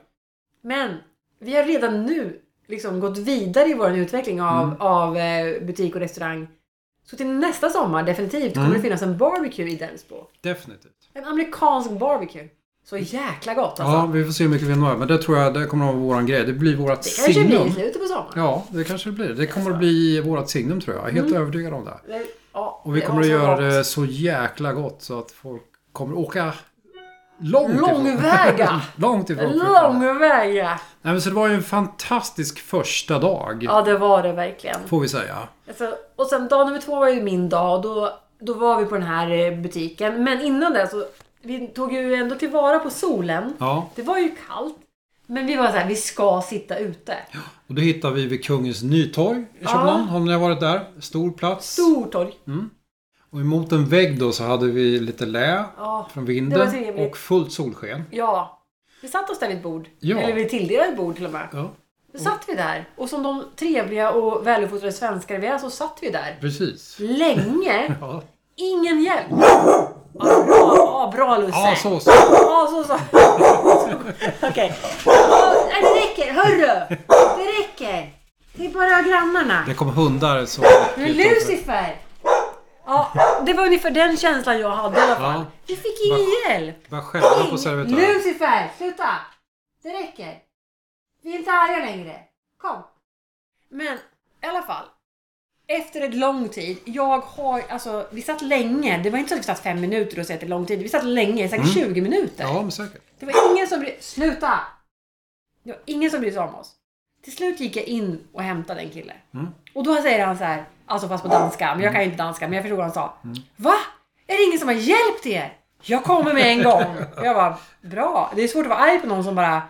Speaker 2: Men vi har redan nu liksom gått vidare i vår utveckling av,
Speaker 1: Mm.
Speaker 2: av eh, butik och restaurang. Så till nästa sommar definitivt
Speaker 1: Mm.
Speaker 2: kommer det finnas en barbecue i Delsbo.
Speaker 1: Definitivt.
Speaker 2: En amerikansk barbecue. Så jäkla gott alltså.
Speaker 1: Mm. Ja, vi får se hur mycket vi når. Men det tror jag det kommer att vara våran grej. Det blir vårat
Speaker 2: det kanske blir i
Speaker 1: signum.
Speaker 2: slutet på sommaren.
Speaker 1: Ja, det kanske det blir. Det kommer
Speaker 2: Alltså.
Speaker 1: att bli vårat signum tror jag. Jag är helt övertygad om det.
Speaker 2: Det- ja,
Speaker 1: Och vi
Speaker 2: Mm. det
Speaker 1: kommer
Speaker 2: var
Speaker 1: att
Speaker 2: så
Speaker 1: göra
Speaker 2: gott.
Speaker 1: det så jäkla gott så att folk kommer åka långt ifrån.
Speaker 2: Långväga!
Speaker 1: Långt ifrån.
Speaker 2: Långväga!
Speaker 1: Nej, men så det var ju en fantastisk första dag.
Speaker 2: Ja, det var det verkligen.
Speaker 1: Får vi säga.
Speaker 2: Alltså, och sen dag nummer två var ju min dag och då, då var vi på den här eh, butiken. Men innan det så vi tog ju ändå tillvara på solen.
Speaker 1: Ja,
Speaker 2: Det var ju kallt. Men vi var så här, vi ska sitta ute.
Speaker 1: och det hittar vi vid Kungens Nytorg i Köpenhamn. Har ni varit där? Stor plats.
Speaker 2: Stortorg.
Speaker 1: Mm. Och emot en vägg då så hade vi lite lä
Speaker 2: Ja.
Speaker 1: från
Speaker 2: det var
Speaker 1: vinden
Speaker 2: trevligt.
Speaker 1: och fullt solsken.
Speaker 2: ja. Vi satt oss där vid ett bord.
Speaker 1: Ja.
Speaker 2: Eller vi tilldelade ett bord till och med.
Speaker 1: Ja,
Speaker 2: Då satt vi där. Och som de trevliga och väluppfostrade svenskar vi är så satt vi där.
Speaker 1: precis.
Speaker 2: Länge.
Speaker 1: Ja,
Speaker 2: Ingen hjälp. Ja, bra, ja, bra Lusse.
Speaker 1: ja så, så.
Speaker 2: Ja, så, så. Okej. Ja, nej, det räcker. Hörru! Det räcker. Det är bara grannarna.
Speaker 1: Det kom hundar. Så
Speaker 2: Men Lucifer! Ja, det var ungefär den känslan jag hade i alla fall.
Speaker 1: Ja.
Speaker 2: Vi fick ingen hjälp.
Speaker 1: Började skälla på servitören.
Speaker 2: Lucifer, sluta! Det räcker. Vi är inte arga längre. Kom. Men i alla fall. Efter ett lång tid. Jag har, alltså, vi satt länge. Det var inte så att vi satt fem minuter och så att det är lång tid. Vi satt länge, säkert 20 minuter.
Speaker 1: Mm. Ja, men säkert.
Speaker 2: Det var ingen som brydde Sluta! Det var ingen som brydde sig om oss. Till slut gick jag in och hämtade en kille.
Speaker 1: Mm.
Speaker 2: Och då säger han så här, alltså fast på danska, men jag kan ju inte danska, men jag förstod vad han sa.
Speaker 1: Mm.
Speaker 2: Va? Är det ingen som har hjälpt er? Jag kommer med en gång. Och jag bara, bra. Det är svårt att vara arg på någon som bara,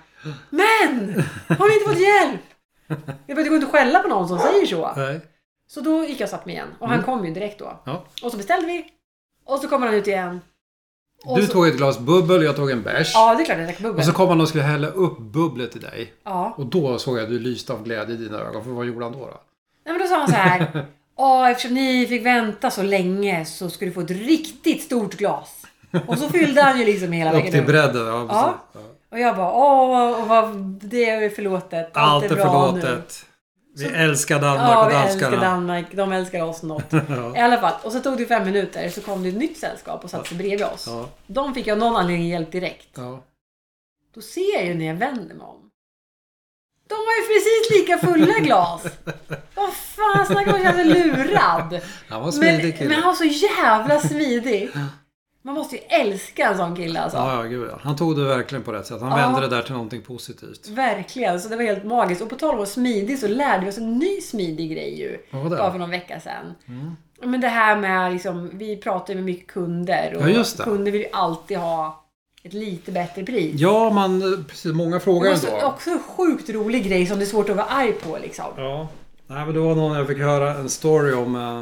Speaker 2: men! Har ni inte fått hjälp? Jag bara, det går inte att skälla på någon som säger så.
Speaker 1: Nej.
Speaker 2: Så då gick jag och satte mig igen. Och
Speaker 1: Mm.
Speaker 2: han kom ju direkt då.
Speaker 1: Ja.
Speaker 2: Och så beställde vi. Och så kommer han ut igen. Och
Speaker 1: Du
Speaker 2: så,
Speaker 1: tog ett glas bubbel och jag tog en bärs.
Speaker 2: Ja, det är klart jag drack bubbel.
Speaker 1: Och så kom han och skulle hälla upp bubblet till dig.
Speaker 2: Ja.
Speaker 1: Och då såg jag att du lyste av glädje i dina ögon. För vad gjorde han då? då?
Speaker 2: Nej, men då sa han så här. Ja, eftersom ni fick vänta så länge så ska du få ett riktigt stort glas. Och så fyllde han ju liksom hela
Speaker 1: Upp till
Speaker 2: vägen upp.
Speaker 1: bredden. Ja,
Speaker 2: Ja.
Speaker 1: precis. Ja.
Speaker 2: Och jag bara, åh, och vad, det är förlåtet.
Speaker 1: Allt är
Speaker 2: bra
Speaker 1: förlåtet. Vi
Speaker 2: Så-
Speaker 1: älskar
Speaker 2: Nu.
Speaker 1: Danmark
Speaker 2: Ja,
Speaker 1: och
Speaker 2: vi älskar
Speaker 1: danskarna.
Speaker 2: Danmark. De älskar oss något.
Speaker 1: Ja.
Speaker 2: I alla fall. Och så tog det fem minuter så kom det ett nytt sällskap och satte sig bredvid oss.
Speaker 1: Ja.
Speaker 2: De fick jag av någon anledning hjälp direkt.
Speaker 1: Ja.
Speaker 2: Då ser jag ju när jag vänder mig om. De var ju precis lika fulla glas. Vad fan, snacka om att känna sig lurad.
Speaker 1: Han var en smidig
Speaker 2: Men,
Speaker 1: kille.
Speaker 2: men han var så jävla smidig. Man måste ju älska en sån kille alltså.
Speaker 1: Ja, ja, gud ja. Han tog det verkligen på rätt sätt. Han
Speaker 2: Ja. Mm.
Speaker 1: vände det där till någonting positivt.
Speaker 2: Verkligen, så det var helt magiskt. Och på tal om att vara smidig så lärde vi oss en ny smidig grej ju.
Speaker 1: Vad var
Speaker 2: Bara för
Speaker 1: det?
Speaker 2: någon vecka sedan.
Speaker 1: Mm.
Speaker 2: Men det här med liksom, vi pratar ju med mycket kunder. Och
Speaker 1: Ja, just det.
Speaker 2: kunder vill ju alltid ha ett lite bättre pris.
Speaker 1: Ja, man... Precis, många
Speaker 2: Det
Speaker 1: frågar
Speaker 2: var
Speaker 1: ändå.
Speaker 2: så, också en sjukt rolig grej som det är svårt att vara arg på liksom.
Speaker 1: Ja. Nej, men det var någon jag fick höra en story om. Eh,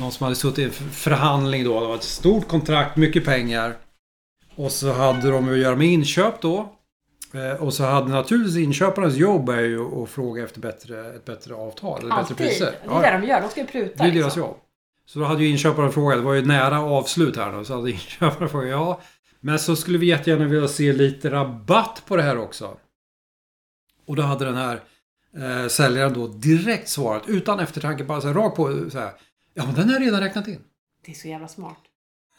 Speaker 1: någon som hade suttit i en f- förhandling då. Det var ett stort kontrakt, mycket pengar. Och så hade de att göra med inköp då. Eh, och så hade naturligtvis inköparens jobb är ju att fråga efter bättre, ett bättre avtal. Eller
Speaker 2: Alltid.
Speaker 1: bättre priser.
Speaker 2: Det är det de gör, de ska ju pruta.
Speaker 1: Det är deras
Speaker 2: liksom.
Speaker 1: jobb. Så då hade ju inköparen frågat, det var ju nära avslut här nu, så hade inköparen frågat ja. Men så skulle vi jättegärna vilja se lite rabatt på det här också. Och då hade den här eh, säljaren då direkt svarat, utan eftertanke, bara så här, rakt på så här. Ja men den har jag redan räknat in.
Speaker 2: Det är så jävla smart.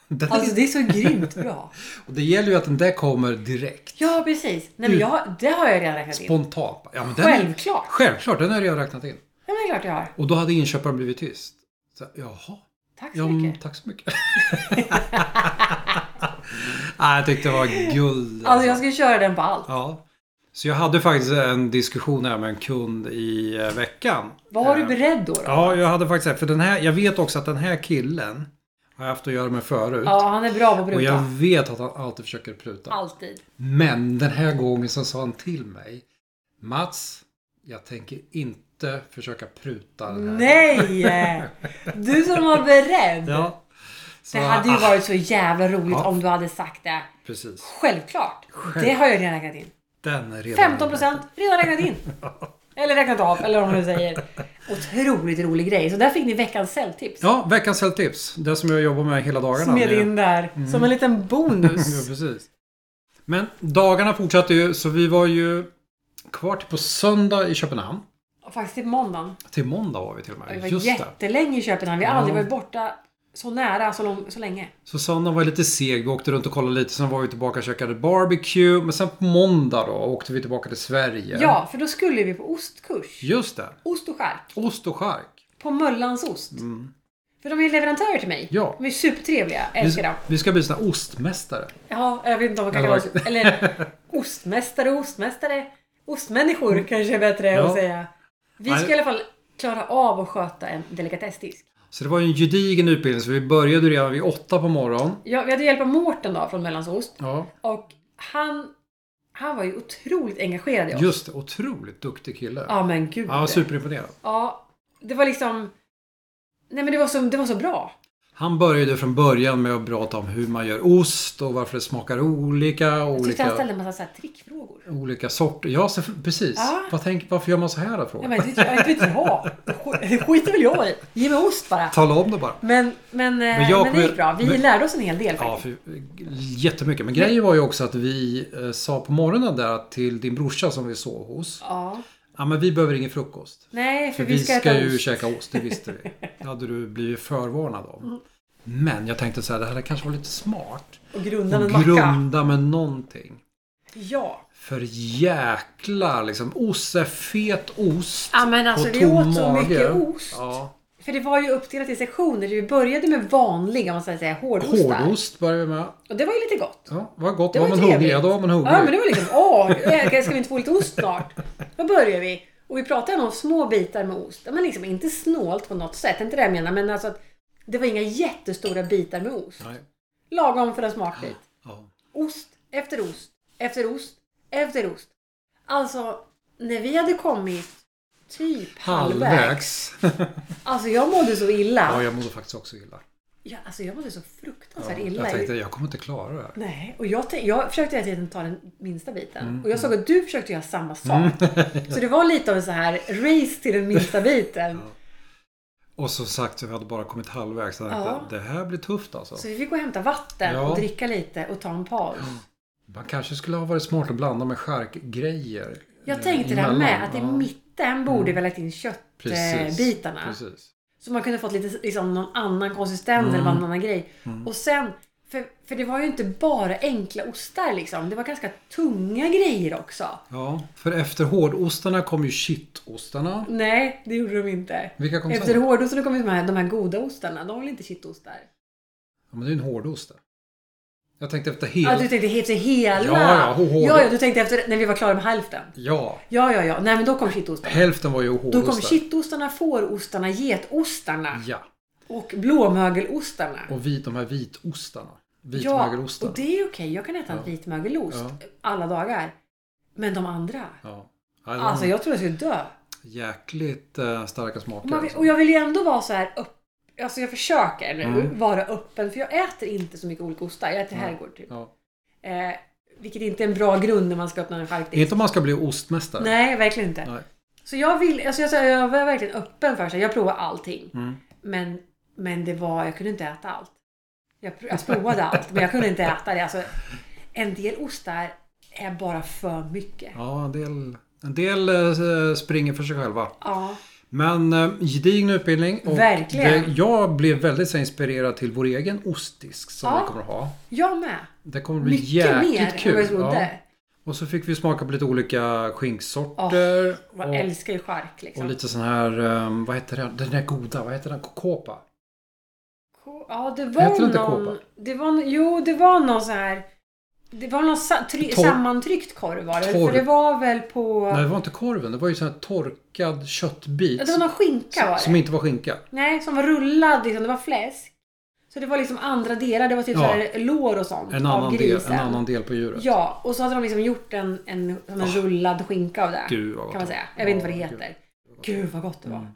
Speaker 1: Den
Speaker 2: Alltså det är så grymt bra.
Speaker 1: och det gäller ju att den där kommer direkt.
Speaker 2: Ja, precis. Nej, men jag, har- det har jag redan räknat in.
Speaker 1: Spontant. Ja, men den,
Speaker 2: Självklart.
Speaker 1: Självklart, den har jag redan räknat in.
Speaker 2: Ja, men det är klart jag har.
Speaker 1: Och då hade inköparen blivit tyst. Så, här, Jaha.
Speaker 2: Tack så
Speaker 1: Ja, men
Speaker 2: mycket.
Speaker 1: tack så mycket. Nej, jag tyckte det var guld.
Speaker 2: Alltså jag ska ju köra den på allt.
Speaker 1: ja. Så jag hade faktiskt en diskussion här med en kund i eh, veckan.
Speaker 2: Vad har du
Speaker 1: Eh,
Speaker 2: beredd då? då? Ja.
Speaker 1: Ja, jag hade faktiskt För den här, jag vet också att den här killen har jag haft att göra med förut.
Speaker 2: han är bra på att
Speaker 1: och jag
Speaker 2: pruta.
Speaker 1: vet att han alltid försöker pruta.
Speaker 2: Alltid.
Speaker 1: Men den här gången så sa han till mig. Mats, jag tänker inte försöka pruta den här
Speaker 2: Nej! Du som var beredd.
Speaker 1: gången." Ja. Så,
Speaker 2: Det hade ju
Speaker 1: ah,
Speaker 2: varit så jävla roligt
Speaker 1: Ja.
Speaker 2: om du hade sagt det.
Speaker 1: Precis.
Speaker 2: Självklart.
Speaker 1: Själv-
Speaker 2: Det har jag redan räknat in.
Speaker 1: Den är redan
Speaker 2: 15 procent, redan räknat in. Eller räknat av, eller vad man nu säger. Otroligt rolig grej. Så där fick ni veckans säljtips.
Speaker 1: Ja, veckans säljtips. Det som jag jobbar med hela dagarna.
Speaker 2: Smed
Speaker 1: Det-
Speaker 2: in där
Speaker 1: Mm.
Speaker 2: som en liten
Speaker 1: Ja,
Speaker 2: bonus.
Speaker 1: precis. Men dagarna fortsatte ju, så vi var ju kvar till på söndag i Köpenhamn.
Speaker 2: Och Faktiskt till måndagen.
Speaker 1: Till måndag var vi till och
Speaker 2: Vi
Speaker 1: med.
Speaker 2: var
Speaker 1: Just det.
Speaker 2: jättelänge i Köpenhamn. Vi har aldrig
Speaker 1: Ja.
Speaker 2: varit borta så nära så, lång, så länge.
Speaker 1: Så söndag var lite seg. Vi åkte runt och kollade lite. Sen var vi tillbaka och käkade barbecue. Men sen på måndag då åkte vi tillbaka till Sverige.
Speaker 2: Ja, för då skulle vi på ostkurs.
Speaker 1: Just det.
Speaker 2: Ost och skärk.
Speaker 1: Ost och chark.
Speaker 2: På Möllans ost. För de är ju leverantörer till mig.
Speaker 1: Mm. Ja.
Speaker 2: De är supertrevliga. Älskar
Speaker 1: Vi,
Speaker 2: dem.
Speaker 1: vi ska bli såna här ostmästare.
Speaker 2: Ja, jag vet inte om man kan
Speaker 1: Eller
Speaker 2: kalla oss... Eller ostmästare, ostmästare. Ostmänniskor kanske är bättre
Speaker 1: Ja.
Speaker 2: att säga. Vi
Speaker 1: Nej.
Speaker 2: ska i alla fall klara av att sköta en delikatessdisk.
Speaker 1: Så det var ju en gedigen utbildning. Så vi började ju redan vid åtta på morgonen.
Speaker 2: Ja, vi hade hjälp av Mårten då från Möllans ost.
Speaker 1: Ja,
Speaker 2: Och han, han var ju otroligt engagerad i oss.
Speaker 1: just det. Otroligt duktig kille.
Speaker 2: Ja men gud.
Speaker 1: Ja, superimponerad.
Speaker 2: Ja, det var liksom... Nej men det var så, det var så bra.
Speaker 1: Han började från början med att prata om hur man gör ost och varför det smakar olika. Och
Speaker 2: Jag tyckte han
Speaker 1: olika,
Speaker 2: ställde en massa så här trickfrågor.
Speaker 1: olika sorter. Ja, så, precis.
Speaker 2: Ja.
Speaker 1: Vad tänk, varför gör man så här? Då,
Speaker 2: Ja,
Speaker 1: frågar
Speaker 2: men det vet jag. Det vet jag. Det sk- Det skiter väl jag i. Ge mig ost bara.
Speaker 1: jag. Tala om det bara.
Speaker 2: Men, men, eh,
Speaker 1: Men jag
Speaker 2: men det gick
Speaker 1: kommer-
Speaker 2: bra. Vi
Speaker 1: men-
Speaker 2: lärde oss en hel del
Speaker 1: Ja,
Speaker 2: faktiskt.
Speaker 1: för, jättemycket. Men grejen var ju också att vi eh, sa på morgonen där till din brorsa som vi sov hos.
Speaker 2: Ja.
Speaker 1: Ja, men vi behöver ingen frukost.
Speaker 2: Nej, för,
Speaker 1: För
Speaker 2: vi ska, äta
Speaker 1: ju
Speaker 2: ost.
Speaker 1: käka ost, det visste vi. Det hade du blivit förvarnad
Speaker 2: Mm.
Speaker 1: om. Men jag tänkte så här, det här kanske var lite smart.
Speaker 2: Och grunda med en
Speaker 1: Och
Speaker 2: macka.
Speaker 1: grunda med någonting.
Speaker 2: Ja.
Speaker 1: För jäklar liksom. Ost, så här fet ost.
Speaker 2: Ja, men
Speaker 1: på
Speaker 2: alltså, vi
Speaker 1: tom
Speaker 2: åt så
Speaker 1: mage.
Speaker 2: mycket ost.
Speaker 1: Ja.
Speaker 2: För det var ju uppdelat i sektioner. Vi började med vanliga, om man ska säga, hårdostar.
Speaker 1: Hårdost började vi med.
Speaker 2: Och det var ju lite gott.
Speaker 1: Ja, vad gott.
Speaker 2: Det
Speaker 1: var
Speaker 2: var
Speaker 1: man
Speaker 2: trevligt.
Speaker 1: hungrig? Ja, då var man hungrig.
Speaker 2: Ja, men det var liksom, åh, älskar, ska vi inte få lite ost snart? Då börjar vi. Och vi pratade om små bitar med ost. Ja, Men liksom inte snålt på något sätt, inte det jag menar. Men alltså att det var inga jättestora bitar med ost.
Speaker 1: Nej.
Speaker 2: Lagom för en smakbit.
Speaker 1: Ja.
Speaker 2: Ost efter ost, efter ost, efter ost. Alltså, när vi hade kommit typ halvvägs.
Speaker 1: Halvvägs.
Speaker 2: Alltså jag mådde så illa.
Speaker 1: ja, jag mådde faktiskt också illa.
Speaker 2: Ja, alltså jag mådde så fruktansvärt
Speaker 1: Ja,
Speaker 2: illa.
Speaker 1: jag tänkte, jag kommer inte klara det här.
Speaker 2: Nej, och jag, tänk- jag försökte hela tiden ta den minsta biten.
Speaker 1: Mm,
Speaker 2: Och jag såg att du försökte göra samma sak. Så det var lite av en så här race till den minsta biten.
Speaker 1: Och som sagt, jag hade bara kommit halvvägs. Jag tänkte,
Speaker 2: Ja.
Speaker 1: Det här blir tufft alltså.
Speaker 2: Så vi fick gå och hämta vatten
Speaker 1: Ja. Mm.
Speaker 2: och dricka lite och ta en paus.
Speaker 1: Man kanske skulle ha varit smart att blanda med charkgrejer. eh,
Speaker 2: Jag tänkte det här
Speaker 1: emellan.
Speaker 2: med att i
Speaker 1: Ja, Mm.
Speaker 2: mitten borde vi ha lagt in
Speaker 1: precis.
Speaker 2: köttbitarna.
Speaker 1: Precis.
Speaker 2: Så man kunde fått lite liksom, någon annan konsistens eller
Speaker 1: Mm.
Speaker 2: någon annan grej. Och sen, för, för det var ju inte bara enkla ostar liksom. Det var ganska tunga grejer också.
Speaker 1: Ja, för efter hårdostarna kom ju shitostarna.
Speaker 2: Nej, det gjorde de inte.
Speaker 1: Vilka kom
Speaker 2: Efter
Speaker 1: sen?
Speaker 2: hårdostarna kom ju de här, de här goda ostarna. De var väl inte kittostar?
Speaker 1: Ja, men det är ju en hårdost det. Jag tänkte efter hel...
Speaker 2: Ja, du tänkte efter hela?
Speaker 1: Ja, ja, ho- hård-
Speaker 2: ja, ja, du tänkte efter när vi var klara med hälften?
Speaker 1: Ja,
Speaker 2: Ja, ja, ja. Nej, men då kom kittostarna.
Speaker 1: hälften var ju
Speaker 2: Då
Speaker 1: hårdostar.
Speaker 2: kom kittostarna, fårostarna, getostarna
Speaker 1: Ja,
Speaker 2: och blåmögelostarna.
Speaker 1: Mm. och vi, de här vitostarna.
Speaker 2: Ja,
Speaker 1: Vitmögelostar.
Speaker 2: och det är okej. Jag kan äta en
Speaker 1: Ja.
Speaker 2: vit mögelost
Speaker 1: Ja.
Speaker 2: alla dagar. Men de andra?
Speaker 1: Ja. Ja, de
Speaker 2: Alltså, jag tror jag skulle dö.
Speaker 1: Jäkligt eh, starka
Speaker 2: Och,
Speaker 1: smaker.
Speaker 2: man,
Speaker 1: alltså.
Speaker 2: och jag vill ju ändå vara så här upp, Alltså jag försöker nu
Speaker 1: Mm.
Speaker 2: vara öppen för jag äter inte så mycket olika ostar. Jag äter
Speaker 1: Nej.
Speaker 2: herrgård typ.
Speaker 1: Ja.
Speaker 2: Eh, vilket inte är en bra grund när man ska öppna en charkdisk.
Speaker 1: Inte om man ska bli ostmästare.
Speaker 2: Nej, verkligen inte.
Speaker 1: Nej.
Speaker 2: Så jag vill, alltså jag, sa- jag var verkligen öppen för sig. Jag provade allting.
Speaker 1: Mm.
Speaker 2: Men, men det var, jag kunde inte äta allt. Jag, pr- jag provade allt, men jag kunde inte äta det. Alltså, en del ostar är bara för mycket.
Speaker 1: Ja, en del, en del eh, springer för sig själva.
Speaker 2: Ja,
Speaker 1: Men eh, gedigen utbildning. Och
Speaker 2: Verkligen.
Speaker 1: Det, jag blev väldigt så inspirerad till vår egen ostdisk som
Speaker 2: Ja.
Speaker 1: vi kommer att ha.
Speaker 2: jag med.
Speaker 1: Det kommer att bli
Speaker 2: Mycket
Speaker 1: jäkligt
Speaker 2: mer
Speaker 1: kul.
Speaker 2: än vad jag trodde.
Speaker 1: Och så fick vi smaka på lite olika skinksorter.
Speaker 2: Man
Speaker 1: och,
Speaker 2: älskar ju chark
Speaker 1: och
Speaker 2: liksom.
Speaker 1: lite sån här, eh, vad heter den, den där goda, vad heter den? Kokopa?
Speaker 2: Ko- Ja, det
Speaker 1: Heter det
Speaker 2: var
Speaker 1: inte
Speaker 2: någon...
Speaker 1: kåpa?
Speaker 2: Det var, no- jo, det var någon så här... Det var någon sa, try,
Speaker 1: Torr-
Speaker 2: sammantryckt korv var det.
Speaker 1: Torr.
Speaker 2: För det var väl på...
Speaker 1: Nej, det var inte korven. Det var ju sån här torkad köttbit.
Speaker 2: Ja, det var någon skinka var det.
Speaker 1: Som inte var skinka.
Speaker 2: Nej, som var rullad. Liksom, det var fläsk. Så det var liksom andra delar. Det var typ
Speaker 1: Ja.
Speaker 2: så här lår och sånt
Speaker 1: En
Speaker 2: av
Speaker 1: annan, del,
Speaker 2: grisen.
Speaker 1: en annan del på djuret.
Speaker 2: Ja, och så hade de liksom gjort en, en, som en rullad skinka av det.
Speaker 1: Gud, vad gott
Speaker 2: kan man
Speaker 1: det var.
Speaker 2: säga. Jag vet inte
Speaker 1: Ja,
Speaker 2: vad det
Speaker 1: gud. Mm.
Speaker 2: heter. Gud vad gott det var.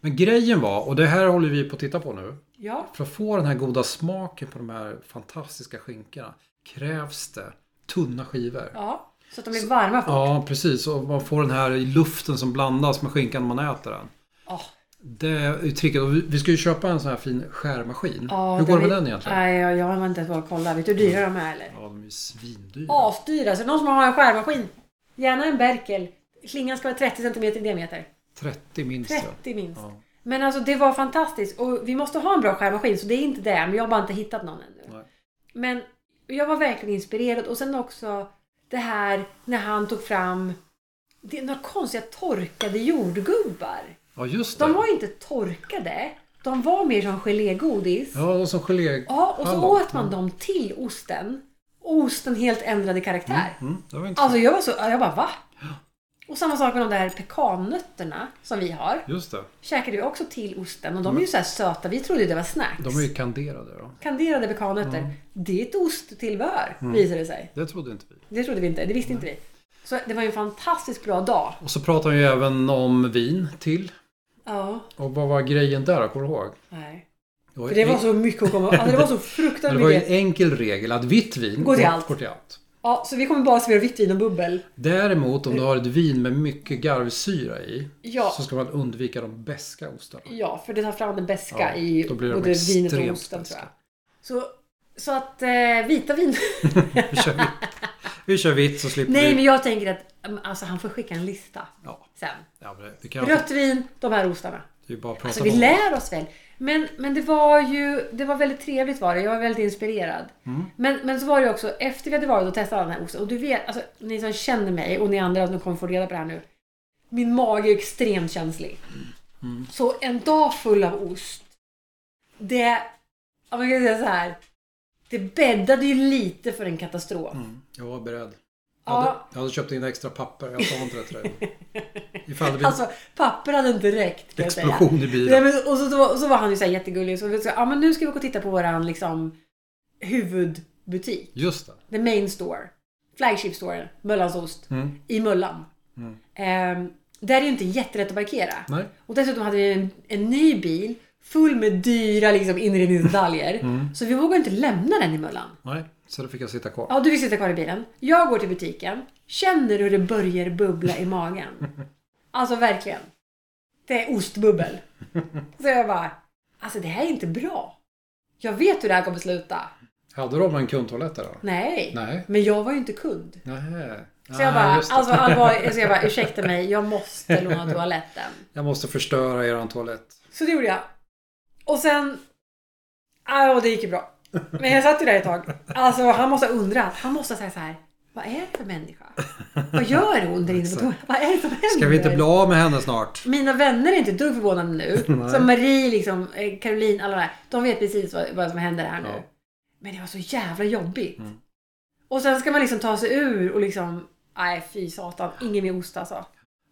Speaker 1: Men grejen var, och det här håller vi på att titta på nu.
Speaker 2: Ja,
Speaker 1: För att få den här goda smaken på de här fantastiska skinkorna krävs det tunna skivor. Ja,
Speaker 2: ja. Så att de blev varma fort.
Speaker 1: precis. Och man får den här luften som blandas med skinkan när man äter den.
Speaker 2: Åh.
Speaker 1: Det är ju tricket. Och vi- vi ska ju köpa en sån här fin skärmaskin.
Speaker 2: Ja,
Speaker 1: Hur går det med
Speaker 2: vi-
Speaker 1: den egentligen?
Speaker 2: Nej, jag, jag har inte ens vågat kolla. Vet du hur dyra de är eller?
Speaker 1: Ja, de är ju svindyra.
Speaker 2: Asdyra. Så någon som har en skärmaskin. Gärna en Berkel. Klingan ska vara 30 cm i diameter.
Speaker 1: 30 minst. ja.
Speaker 2: 30 minst.
Speaker 1: Ja.
Speaker 2: Men alltså det var fantastiskt. Och vi måste ha en bra skärmaskin så det är inte det. Men jag har bara inte hittat någon ännu.
Speaker 1: Nej.
Speaker 2: Men jag var verkligen inspirerad. Och sen också det här när han tog fram det är några konstiga torkade jordgubbar.
Speaker 1: Ja, just det.
Speaker 2: De var ju inte torkade. De var mer som gelégodis.
Speaker 1: Ja, de som gelé...
Speaker 2: Ja, och så
Speaker 1: Hallon.
Speaker 2: åt man dem till osten. Och osten helt ändrade karaktär.
Speaker 1: Mm, det var inte
Speaker 2: Alltså jag var så, jag bara va? Och samma sak med de där pekannötterna som vi har.
Speaker 1: Just det.
Speaker 2: Käkade vi också till osten och de är ju så här söta. Vi trodde Mm. ju det var snacks.
Speaker 1: De är ju kanderade. Ja.
Speaker 2: Kanderade pekannötter. Det är ett osttillbehör visade det sig.
Speaker 1: Det trodde inte vi.
Speaker 2: Det trodde vi inte. Det visste inte vi. Så det var ju en fantastiskt bra dag.
Speaker 1: Och så pratar vi ju även om vin till.
Speaker 2: Ja.
Speaker 1: Och vad var grejen där? Kommer du ihåg?
Speaker 2: Nej.
Speaker 1: Det var,
Speaker 2: För det var
Speaker 1: en-
Speaker 2: så mycket att komma Alltså det var så
Speaker 1: men
Speaker 2: fruktansvärt
Speaker 1: det var ju en
Speaker 2: mycket.
Speaker 1: enkel regel att vitt vin
Speaker 2: Går till allt.
Speaker 1: Går till allt.
Speaker 2: Ja, så vi kommer bara servera vitt vin och bubbel.
Speaker 1: Däremot om du har ett vin med mycket garvsyra i
Speaker 2: Ja.
Speaker 1: så ska man undvika de beska ostarna.
Speaker 2: Ja, för det tar fram den beska
Speaker 1: Ja,
Speaker 2: i
Speaker 1: då blir de
Speaker 2: både vinet och
Speaker 1: extremt
Speaker 2: osten tror
Speaker 1: beska.
Speaker 2: jag. Så, så att eh, vita vin...
Speaker 1: Vi kör vitt, vi kör vitt så slipper
Speaker 2: Nej,
Speaker 1: vi...
Speaker 2: men jag tänker att mm, alltså, han får skicka en lista
Speaker 1: Ja,
Speaker 2: sen.
Speaker 1: ja men det, vi kan
Speaker 2: Rött vin, de här ostarna.
Speaker 1: det är ju bara att prata
Speaker 2: Alltså vi
Speaker 1: om det.
Speaker 2: lär oss väl. Men, men det var ju det var väldigt trevligt var det. Jag var väldigt inspirerad.
Speaker 1: Mm.
Speaker 2: Men, men så var det också efter vi hade varit och testat alla den här osten. Och du vet, alltså, ni som känner mig och ni andra som kommer få reda på det här nu. Min mage är extremt känslig.
Speaker 1: Mm.
Speaker 2: Så en dag full av ost. Det, ja, man kan säga så här. Det bäddade ju lite för en katastrof.
Speaker 1: Mm, jag var beredd. Jag hade,
Speaker 2: Ja,
Speaker 1: jag hade köpt in extra papper. Jag sa inte det till dig. Ifall det blir
Speaker 2: alltså papper hade inte räckt kan jag säga.
Speaker 1: explosion i
Speaker 2: Nej,
Speaker 1: bilen.
Speaker 2: men, och, så, då, och så var han ju så här jättegullig. Så vi sa, ja men nu ska vi gå och titta på våran liksom, huvudbutik.
Speaker 1: Just det.
Speaker 2: The main store. Flagship store. Möllans ost.
Speaker 1: Mm.
Speaker 2: I Möllan.
Speaker 1: Mm.
Speaker 2: Ehm, Där är ju inte jättelätt att parkera.
Speaker 1: Nej.
Speaker 2: Och dessutom hade vi en, en ny bil full med dyra liksom, inredningsdetaljer.
Speaker 1: Mm.
Speaker 2: Så vi vågade inte lämna den i mullan.
Speaker 1: Nej. Så då fick jag sitta kvar.
Speaker 2: Ja, du fick sitta kvar i bilen. Jag går till butiken, känner hur det börjar bubbla i magen. Alltså verkligen. Det är ostbubbel. Så jag bara, alltså det här är inte bra. Jag vet hur det här kommer sluta.
Speaker 1: Hade de en kundtoalett där då?
Speaker 2: Nej.
Speaker 1: Nej.
Speaker 2: Men jag var ju inte kund.
Speaker 1: Nej.
Speaker 2: Så jag
Speaker 1: Nej,
Speaker 2: bara,
Speaker 1: just det.
Speaker 2: alltså allvarligt, så jag bara, ursäkta mig, jag måste låna toaletten.
Speaker 1: Jag måste förstöra eran toalett.
Speaker 2: Så det gjorde jag. Och sen... Ja, och det gick ju bra. Men jag satt ju där ett tag. Alltså han måste ha undrat. Han måste säga så här. Vad är det för människa? Vad gör hon där inne på toaletten? Vad är det som händer?
Speaker 1: Ska vi inte bli av med henne snart?
Speaker 2: Mina vänner är inte ett dugg förvånade nu.
Speaker 1: Nej.
Speaker 2: Som Marie, liksom, eh, Caroline, alla de där. De vet precis vad, vad som händer här nu.
Speaker 1: Ja.
Speaker 2: Men det var så jävla jobbigt.
Speaker 1: Mm.
Speaker 2: Och sen ska man liksom ta sig ur och liksom... Nej, fy satan. Ingen med ost alltså.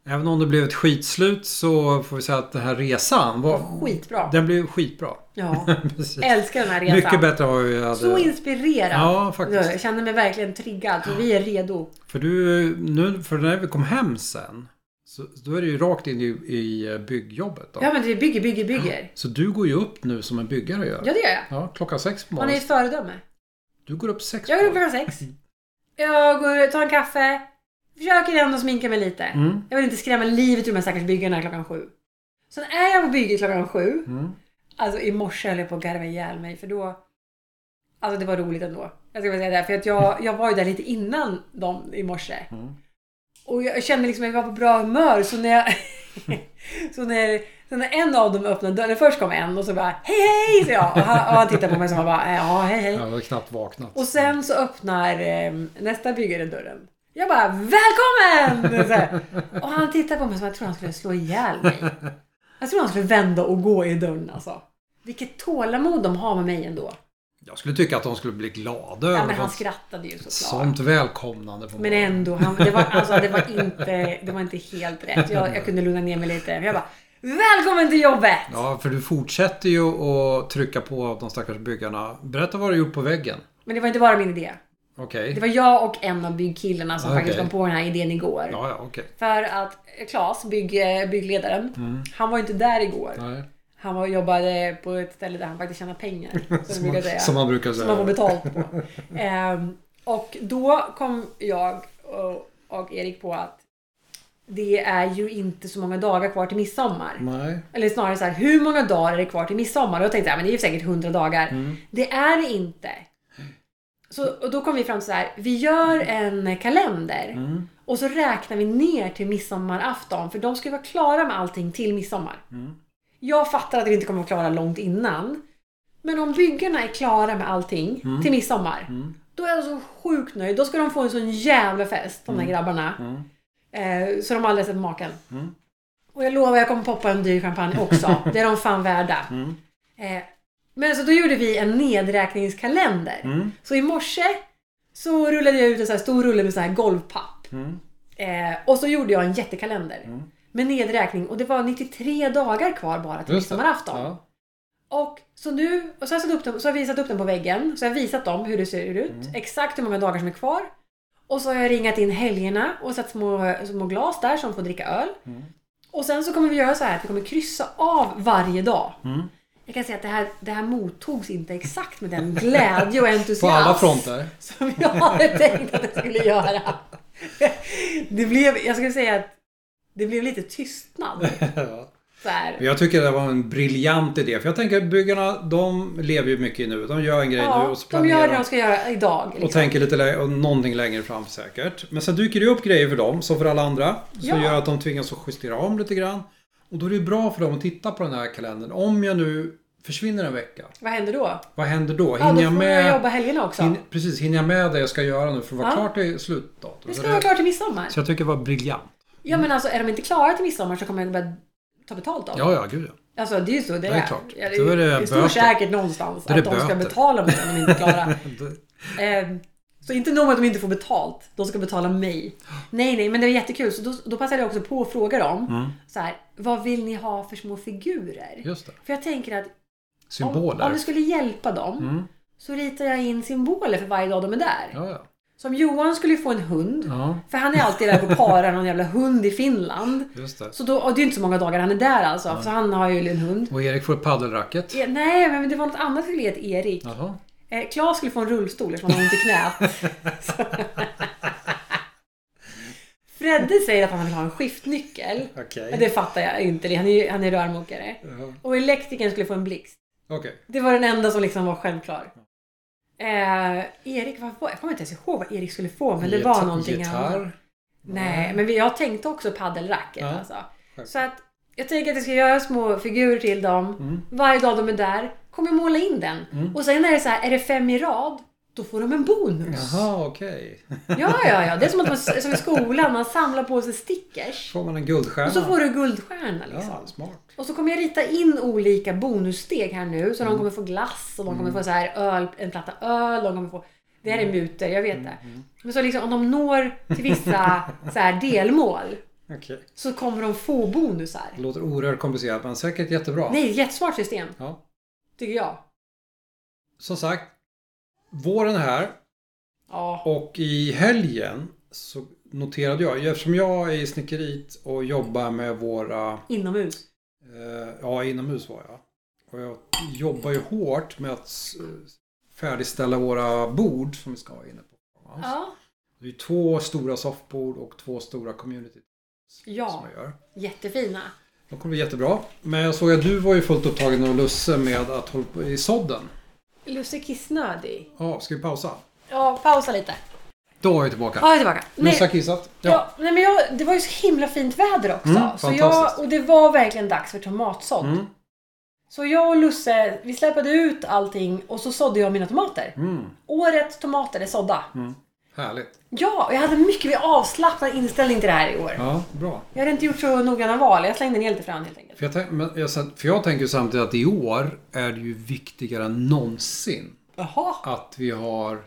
Speaker 1: Även om det blev ett skitslut så får vi säga att den här resan var...
Speaker 2: Skitbra.
Speaker 1: Den blev skitbra.
Speaker 2: Ja.
Speaker 1: Precis.
Speaker 2: Älskar den här resan.
Speaker 1: Mycket bättre än vad vi hade...
Speaker 2: Så inspirerad.
Speaker 1: Ja, faktiskt.
Speaker 2: Jag känner mig verkligen triggad och vi är redo.
Speaker 1: För du, nu, för när vi kom hem sen, så, då är det ju rakt in i, i byggjobbet då.
Speaker 2: Ja men vi bygger, bygger, bygger.
Speaker 1: Så du går ju upp nu som en byggare gör.
Speaker 2: Ja det gör jag.
Speaker 1: Ja, klockan sex på
Speaker 2: Man är
Speaker 1: morgonen.
Speaker 2: ett föredöme.
Speaker 1: Du går upp sex
Speaker 2: Jag går upp
Speaker 1: morgonen.
Speaker 2: klockan sex. Jag går, tar en kaffe. Försöker ändå sminka mig lite.
Speaker 1: Mm.
Speaker 2: Jag vill inte skrämma livet ur de här stackars byggarna klockan sju. Sen är jag på bygget klockan sju.
Speaker 1: Mm.
Speaker 2: Alltså i morse höll jag på att garva ihjäl mig för då... Alltså det var roligt ändå. Jag ska bara säga det. För att jag, jag var ju där lite innan dem i morse.
Speaker 1: Mm.
Speaker 2: Och jag kände liksom att jag var på bra humör så när jag... så, när, så när en av dem öppnade dörren, först kom en och så bara hej hej! Så jag, och, han, och han tittade på mig som bara ja hej hej.
Speaker 1: Jag hade knappt vaknat.
Speaker 2: Och sen så öppnar eh, nästa byggare dörren. Jag bara välkommen! Så här. Och han tittar på mig som jag tror han skulle slå ihjäl mig. Jag tror han skulle vända och gå i dörren alltså. Vilket tålamod de har med mig ändå.
Speaker 1: Jag skulle tycka att de skulle bli glada
Speaker 2: Ja,
Speaker 1: över
Speaker 2: men han
Speaker 1: något
Speaker 2: skrattade ju såklart.
Speaker 1: sånt välkomnande på
Speaker 2: Men
Speaker 1: morgonen.
Speaker 2: ändå, han, det, var, alltså, det, var inte, det var inte helt rätt. Jag, jag kunde lugna ner mig lite. Jag bara Välkommen till jobbet!
Speaker 1: Ja, för du fortsätter ju att trycka på de stackars byggarna. Berätta vad du gjort på väggen.
Speaker 2: Men det var inte bara min idé.
Speaker 1: Okej.
Speaker 2: Det var jag och en av byggkillarna som
Speaker 1: Okej.
Speaker 2: faktiskt kom på den här idén igår.
Speaker 1: Ja, ja, okej.
Speaker 2: För att Claes, bygg, eh, byggledaren, han var inte där igår.
Speaker 1: Nej.
Speaker 2: Han var, jobbade på ett ställe där han faktiskt tjänade pengar. Som,
Speaker 1: Som,
Speaker 2: man,
Speaker 1: man-
Speaker 2: säga,
Speaker 1: som
Speaker 2: som,
Speaker 1: man brukar säga.
Speaker 2: man får betalt på. Ehm, och då kom jag och, och Erik på att det är ju inte så många dagar kvar till midsommar.
Speaker 1: Nej.
Speaker 2: Eller snarare så här, hur många dagar är det kvar till midsommar? Och då tänkte jag, men det är ju säkert 100 dagar. Det är det inte. Så, och då kom vi fram till så här, vi gör en kalender
Speaker 1: Mm,
Speaker 2: och så räknar vi ner till midsommarafton för de ska ju vara klara med allting till midsommar. Jag fattar att vi inte kommer att vara klara långt innan. Men om byggarna är klara med allting till midsommar, då är jag så sjukt nöjd. Då ska de få en sån jävla fest, de där grabbarna.
Speaker 1: mm,
Speaker 2: Eh, så de har aldrig sett maken. Och jag lovar, jag kommer poppa en dyr champagne också. Det är de fan värda. Eh, men så då gjorde vi en nedräkningskalender.
Speaker 1: Mm.
Speaker 2: Så i morse så rullade jag ut en så här stor rulle med så här golvpapp.
Speaker 1: mm.
Speaker 2: Eh, och så gjorde jag en jättekalender. Med nedräkning och det var 93 dagar kvar bara till
Speaker 1: Just det.
Speaker 2: midsommarafton.
Speaker 1: Ja.
Speaker 2: Och så nu, och så har, jag satt upp dem, så har jag visat upp den på väggen. Så har jag visat dem hur det ser ut.
Speaker 1: Mm.
Speaker 2: Exakt hur många dagar som är kvar. Och så har jag ringat in helgerna och satt små, små glas där som får dricka öl.
Speaker 1: Mm.
Speaker 2: Och sen så kommer vi göra så här att vi kommer kryssa av varje dag.
Speaker 1: Mm.
Speaker 2: Jag kan säga att det här, det här mottogs inte exakt med den glädje och entusiasm.
Speaker 1: På alla fronter.
Speaker 2: Som jag hade tänkt att det skulle göra. Det blev, jag skulle säga att det blev lite tystnad.
Speaker 1: Ja.
Speaker 2: Så här.
Speaker 1: Men Jag tycker det var en briljant idé. För jag tänker att byggarna, de lever ju mycket i nu. De gör en grej nu
Speaker 2: Ja,
Speaker 1: och så
Speaker 2: de
Speaker 1: planerar
Speaker 2: gör det de ska göra idag. liksom.
Speaker 1: Och tänker lite lä- och någonting längre fram säkert. Men sen dyker det upp grejer för dem, som för alla andra. Som
Speaker 2: Ja.
Speaker 1: gör att de tvingas att justera om lite grann. Och då är det ju bra för dem att titta på den här kalendern. Om jag nu försvinner en vecka,
Speaker 2: Vad händer då?
Speaker 1: vad händer då?
Speaker 2: Ja,
Speaker 1: Hinner
Speaker 2: då
Speaker 1: jag
Speaker 2: får jag
Speaker 1: med...
Speaker 2: jobba helgerna också.
Speaker 1: Hin, precis, hinner jag med det jag ska göra nu för att vara
Speaker 2: Ja.
Speaker 1: klar till slutdatum?
Speaker 2: Det
Speaker 1: Så
Speaker 2: ska
Speaker 1: det-
Speaker 2: vara klart till midsommar.
Speaker 1: Så jag tycker det var briljant.
Speaker 2: Ja men alltså är de inte klara till midsommar så kommer jag börja ta betalt av dem.
Speaker 1: Ja, ja, gud ja.
Speaker 2: Alltså det är ju så det,
Speaker 1: är klart.
Speaker 2: Ja,
Speaker 1: Då är det
Speaker 2: det står
Speaker 1: böter.
Speaker 2: säkert någonstans
Speaker 1: Då är
Speaker 2: att
Speaker 1: det
Speaker 2: de ska
Speaker 1: böter.
Speaker 2: betala mig om de inte är klara. Eh, Så inte nog med att de inte får betalt, de ska betala mig. Nej, nej, men det var jättekul. Så då, då passade jag också på att fråga dem.
Speaker 1: Mm.
Speaker 2: Så här, vad vill ni ha för små figurer?
Speaker 1: Just det.
Speaker 2: För jag tänker att om,
Speaker 1: Symboler. Mm.
Speaker 2: om vi skulle hjälpa dem så ritar jag in symboler för varje dag de är där.
Speaker 1: Ja, ja.
Speaker 2: Som Johan skulle ju få en hund.
Speaker 1: Ja,
Speaker 2: För han är alltid där på parar någon jävla hund i Finland.
Speaker 1: just det.
Speaker 2: Så då, och det är inte så många dagar han är där alltså. Så han har ju en hund.
Speaker 1: Och Erik får ett paddelracket.
Speaker 2: Ja, nej, men det var något annat som skulle ge till Erik.
Speaker 1: Jaha.
Speaker 2: Eh, Claes skulle få en rullstol eftersom han har ont i knät. Så- Fredde säger att han vill ha en skiftnyckel.
Speaker 1: Okej.
Speaker 2: Men Det fattar jag inte. Han är, ju- han är rörmokare.
Speaker 1: Ja,
Speaker 2: Och elektrikern skulle få en blixt.
Speaker 1: Okej.
Speaker 2: Det var den enda som liksom var självklar. Eh, Erik, vad var, jag kommer inte ens ihåg vad Erik skulle få, men det var
Speaker 1: Gita-
Speaker 2: någonting annat.
Speaker 1: Gitarr.
Speaker 2: Nej, men vi- jag tänkte också paddelracket
Speaker 1: Ja,
Speaker 2: alltså.
Speaker 1: självklart.
Speaker 2: Så att jag tänker att jag ska göra små figurer till dem.
Speaker 1: Mm.
Speaker 2: Varje dag de är där kommer jag måla in den. Och sen är det så här, är det fem i rad, då får de en bonus.
Speaker 1: Jaha, okej.
Speaker 2: Ja, ja, ja. Det är som, att man, som i skolan, man samlar på sig stickers.
Speaker 1: får man en
Speaker 2: Och så
Speaker 1: guldstjärna.
Speaker 2: får du guldstjärna liksom.
Speaker 1: Ja, smart.
Speaker 2: Och så kommer jag rita in olika bonussteg här nu. Så de kommer få glass och de kommer få så här öl, en platta öl. De kommer få, det här är muter, jag vet det. Men så liksom, om de når till vissa så här delmål
Speaker 1: Okej.
Speaker 2: så kommer de få bonusar.
Speaker 1: Det låter oerhört komplicerat men säkert jättebra.
Speaker 2: Nej, jättesmart system
Speaker 1: Ja.
Speaker 2: tycker jag.
Speaker 1: Som sagt, våren här
Speaker 2: Ja.
Speaker 1: och i helgen så noterade jag, eftersom jag är i snickeriet och jobbar med våra
Speaker 2: Inomhus.
Speaker 1: Eh, Ja, inomhus var jag. Och jag jobbar ju hårt med att eh, färdigställa våra bord som vi ska ha inne på.
Speaker 2: Ja.
Speaker 1: Det är ju två stora soffbord och två stora community som
Speaker 2: Ja,
Speaker 1: jag gör.
Speaker 2: jättefina.
Speaker 1: De kommer bli jättebra. Men jag såg att du var ju fullt upptagen av Lusse med att hålla på i sodden.
Speaker 2: Lusse kissnödig.
Speaker 1: Ja, ska vi pausa?
Speaker 2: Ja, pausa lite.
Speaker 1: Då är jag tillbaka.
Speaker 2: Ja, jag är tillbaka.
Speaker 1: Lusse har
Speaker 2: Nej,
Speaker 1: kissat.
Speaker 2: ja. nej, men jag, det var ju så himla fint väder också.
Speaker 1: Mm,
Speaker 2: så jag,
Speaker 1: fantastiskt.
Speaker 2: och det var verkligen dags för tomatsådd.
Speaker 1: Mm.
Speaker 2: Så jag och Lusse, vi släpade ut allting och så sådde jag mina tomater.
Speaker 1: Mm,
Speaker 2: Årets tomater är sådda.
Speaker 1: härligt.
Speaker 2: Ja, och jag hade mycket avslappnad inställning till det här i år.
Speaker 1: Ja, bra.
Speaker 2: Jag hade inte gjort så noggranna val. Jag slängde ner lite fram helt enkelt.
Speaker 1: För jag, tänk, men jag, sa- för jag tänker ju samtidigt att i år är det ju viktigare än någonsin
Speaker 2: Jaha.
Speaker 1: att vi har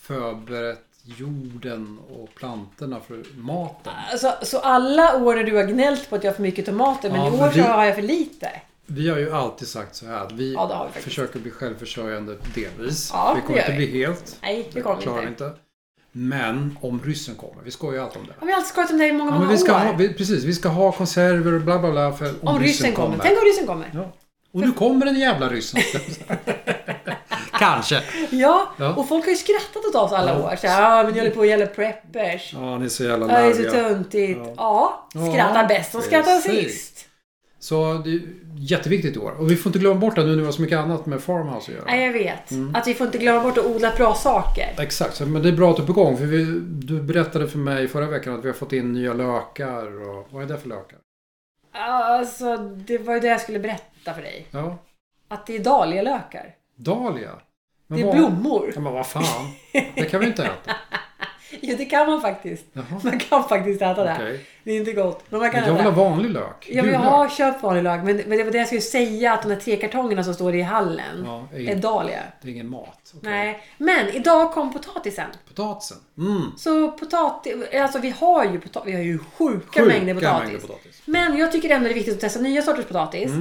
Speaker 1: förberett jorden och plantorna för maten.
Speaker 2: Alltså, så alla år när du har gnällt på att jag har för mycket tomater, men
Speaker 1: Ja,
Speaker 2: i
Speaker 1: men
Speaker 2: år
Speaker 1: vi-
Speaker 2: så har jag för lite.
Speaker 1: Vi har ju alltid sagt så här att vi,
Speaker 2: Ja, det har vi faktiskt.
Speaker 1: försöker bli självförsörjande delvis.
Speaker 2: Ja,
Speaker 1: vi
Speaker 2: det
Speaker 1: kommer
Speaker 2: gör
Speaker 1: inte bli helt.
Speaker 2: Nej, det kommer
Speaker 1: klarar
Speaker 2: inte.
Speaker 1: vi inte. Men om ryssen kommer. Vi skojar ju alltid om det.
Speaker 2: Ja, men Jag har alltid skojat om det här i många,
Speaker 1: Ja,
Speaker 2: många
Speaker 1: men vi ska
Speaker 2: år.
Speaker 1: ha, vi, precis, vi ska ha konserver och bla bla bla för om,
Speaker 2: Om ryssen kommer. Tänk om ryssen kommer.
Speaker 1: Ja. Och nu kommer den jävla ryssen. Kanske.
Speaker 2: Ja,
Speaker 1: Ja.
Speaker 2: och folk har ju skrattat åt oss alla
Speaker 1: Ja.
Speaker 2: år. Så här, ah, men ni håller på att gälla preppers.
Speaker 1: Ja, ni är så jävla
Speaker 2: Ja, det är så
Speaker 1: larviga.
Speaker 2: töntigt.
Speaker 1: Ja.
Speaker 2: Ja,
Speaker 1: Ja,
Speaker 2: skrattar bäst och skrattar
Speaker 1: precis.
Speaker 2: sist.
Speaker 1: Så det är jätteviktigt i år. Och vi får inte glömma bort det nu när vi har så mycket annat med Farmhouse att göra.
Speaker 2: Nej, jag vet.
Speaker 1: Mm.
Speaker 2: Att vi får inte glömma bort att odla bra saker.
Speaker 1: Exakt, så- men det är bra att du är på gång. För vi, du berättade för mig förra veckan att vi har fått in nya lökar. Och, vad är det för lökar?
Speaker 2: Alltså, det var ju det jag skulle berätta för dig.
Speaker 1: Ja,
Speaker 2: Att det är dahlialökar.
Speaker 1: dahlia. Men
Speaker 2: Det är
Speaker 1: vad-
Speaker 2: blommor.
Speaker 1: Ja, men vad fan. Det kan vi inte äta.
Speaker 2: Jo, det kan man faktiskt.
Speaker 1: Jaha,
Speaker 2: Man kan faktiskt äta det.
Speaker 1: okej.
Speaker 2: Det är inte gott, men man kan
Speaker 1: Men jag vill
Speaker 2: äta
Speaker 1: ha
Speaker 2: det.
Speaker 1: vanlig lök.
Speaker 2: Ja, men jag
Speaker 1: Gul lök.
Speaker 2: har köpt vanlig lök, men, men det var det jag skulle säga att de där tre kartongerna som står i hallen
Speaker 1: Ja, det är
Speaker 2: är
Speaker 1: ingen-
Speaker 2: dahlia.
Speaker 1: det är ingen mat. Okej.
Speaker 2: Nej, men idag kom potatisen.
Speaker 1: Potatisen. Mm.
Speaker 2: Så potatis, alltså vi har ju, pota- vi har ju sjuka,
Speaker 1: Sjuka
Speaker 2: mängder potatis.
Speaker 1: mängder potatis. Mm.
Speaker 2: Men jag tycker ändå det är viktigt att testa nya sorters potatis.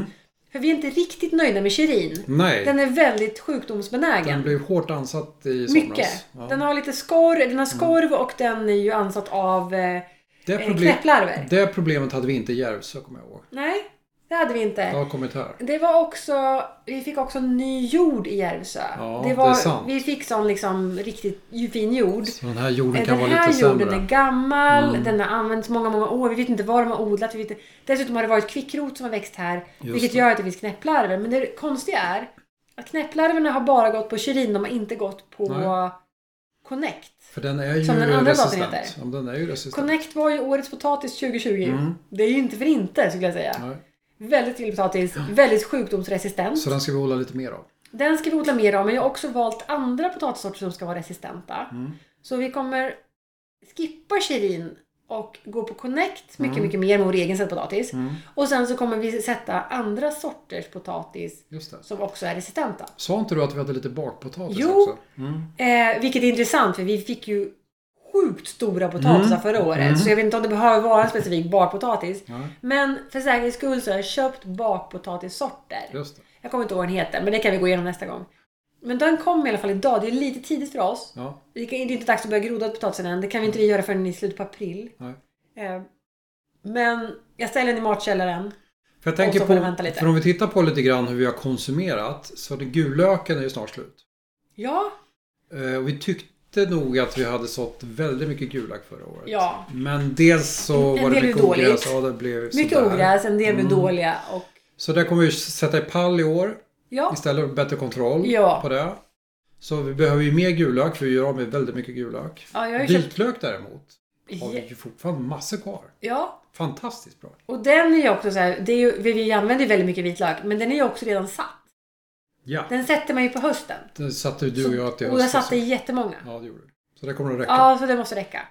Speaker 2: För vi är inte riktigt nöjda med chirin.
Speaker 1: Nej,
Speaker 2: Den
Speaker 1: den,
Speaker 2: är väldigt sjukdomsbenägen.
Speaker 1: blev hårt ansatt i somras.
Speaker 2: Mycket.
Speaker 1: Ja. Mm.
Speaker 2: Den har lite skorv, den har skorv och den är ju ansatt av eh,
Speaker 1: det,
Speaker 2: eh,
Speaker 1: problem,
Speaker 2: knäpplarver.
Speaker 1: det problemet hade vi inte i Järvsö, kommer jag ihåg.
Speaker 2: Nej, det hade vi inte.
Speaker 1: Det har kommit här.
Speaker 2: Det var också, vi fick också ny jord i Järvsö.
Speaker 1: Ja,
Speaker 2: det var,
Speaker 1: det är sant.
Speaker 2: Vi fick sån liksom riktigt ju- fin jord.
Speaker 1: Så den här jorden
Speaker 2: Eh,
Speaker 1: kan
Speaker 2: Den
Speaker 1: vara
Speaker 2: här
Speaker 1: lite
Speaker 2: jorden
Speaker 1: sämre. Mm.
Speaker 2: är gammal, den har använts många, många år. Vi vet inte vad de har odlat. Vi vet inte. Dessutom har det varit kvickrot som har växt här, vilket
Speaker 1: det.
Speaker 2: gör att det finns knäpplarver. Men det konstiga är att knäpplarverna har bara gått på chirin, de har inte gått på
Speaker 1: Nej.
Speaker 2: connect.
Speaker 1: För den är ju
Speaker 2: Som den andra potatisen
Speaker 1: resistent.
Speaker 2: heter.
Speaker 1: Ja, men den är ju resistent.
Speaker 2: Connect var ju årets potatis 2020.
Speaker 1: Mm.
Speaker 2: Det är ju inte för inte skulle jag säga.
Speaker 1: Nej.
Speaker 2: Väldigt till potatis, väldigt sjukdomsresistent.
Speaker 1: Så den ska vi hålla lite mer av.
Speaker 2: Den ska vi odla mer av, men jag har också valt andra potatissorter som ska vara resistenta.
Speaker 1: Mm.
Speaker 2: Så vi kommer skippa chirin och gå på connect mycket,
Speaker 1: Mm.
Speaker 2: mycket mer med vår egen sätt potatis.
Speaker 1: Mm.
Speaker 2: Och sen så kommer vi sätta andra sorters potatis
Speaker 1: Just det.
Speaker 2: som också är resistenta.
Speaker 1: Sa inte du att vi hade lite bakpotatis
Speaker 2: Jo.
Speaker 1: också? Mm.
Speaker 2: Eh, vilket är intressant för vi fick ju sjukt stora potatisar
Speaker 1: Mm.
Speaker 2: förra året.
Speaker 1: Mm.
Speaker 2: Så jag vet inte om det behöver vara en specifik bakpotatis.
Speaker 1: Ja,
Speaker 2: Men för säkerhets skull så har jag köpt bakpotatissorter.
Speaker 1: just det.
Speaker 2: Jag kommer inte ihåg vad den heter, men det kan vi gå igenom nästa gång. Men den kom i alla fall idag. Det är lite tidigt för oss.
Speaker 1: Ja,
Speaker 2: Det är inte dags att börja groda potatisen än. Det kan vi inte vi göra förrän i slutet på april.
Speaker 1: nej.
Speaker 2: Eh, Men jag ställer den i matkällaren.
Speaker 1: För jag
Speaker 2: Och
Speaker 1: tänker
Speaker 2: så
Speaker 1: på,
Speaker 2: får vi vänta lite.
Speaker 1: för om vi tittar på lite grann hur vi har konsumerat så den gulöken är ju snart slut.
Speaker 2: Ja,
Speaker 1: Eh, och vi tyckte nog att vi hade sått väldigt mycket gulök förra året.
Speaker 2: Ja.
Speaker 1: Men dels så
Speaker 2: En
Speaker 1: var det
Speaker 2: del är
Speaker 1: mycket ogräs.
Speaker 2: dåligt.
Speaker 1: Ja, det blev
Speaker 2: mycket
Speaker 1: sådär.
Speaker 2: ogräs. En del blir
Speaker 1: Mm.
Speaker 2: dåliga. Och
Speaker 1: Så där kommer vi sätta i pall i år
Speaker 2: ja,
Speaker 1: istället. Bättre kontroll
Speaker 2: Ja.
Speaker 1: på det. Så vi behöver ju mer gulök för vi gör av med väldigt mycket gulök.
Speaker 2: ja, jag har ju köpt...
Speaker 1: Vitlök däremot har vi
Speaker 2: Ja,
Speaker 1: ju fortfarande massor kvar.
Speaker 2: Ja,
Speaker 1: Fantastiskt bra.
Speaker 2: och den är ju också så här, det är ju, vi- vi använder ju väldigt mycket vitlök, men den är ju också redan satt.
Speaker 1: Ja,
Speaker 2: Den sätter man ju på hösten.
Speaker 1: det satte ju du och jag till
Speaker 2: och jag
Speaker 1: hösten.
Speaker 2: satte i jättemånga.
Speaker 1: Ja, det gjorde du. Så det kommer att räcka.
Speaker 2: Ja, så det måste räcka.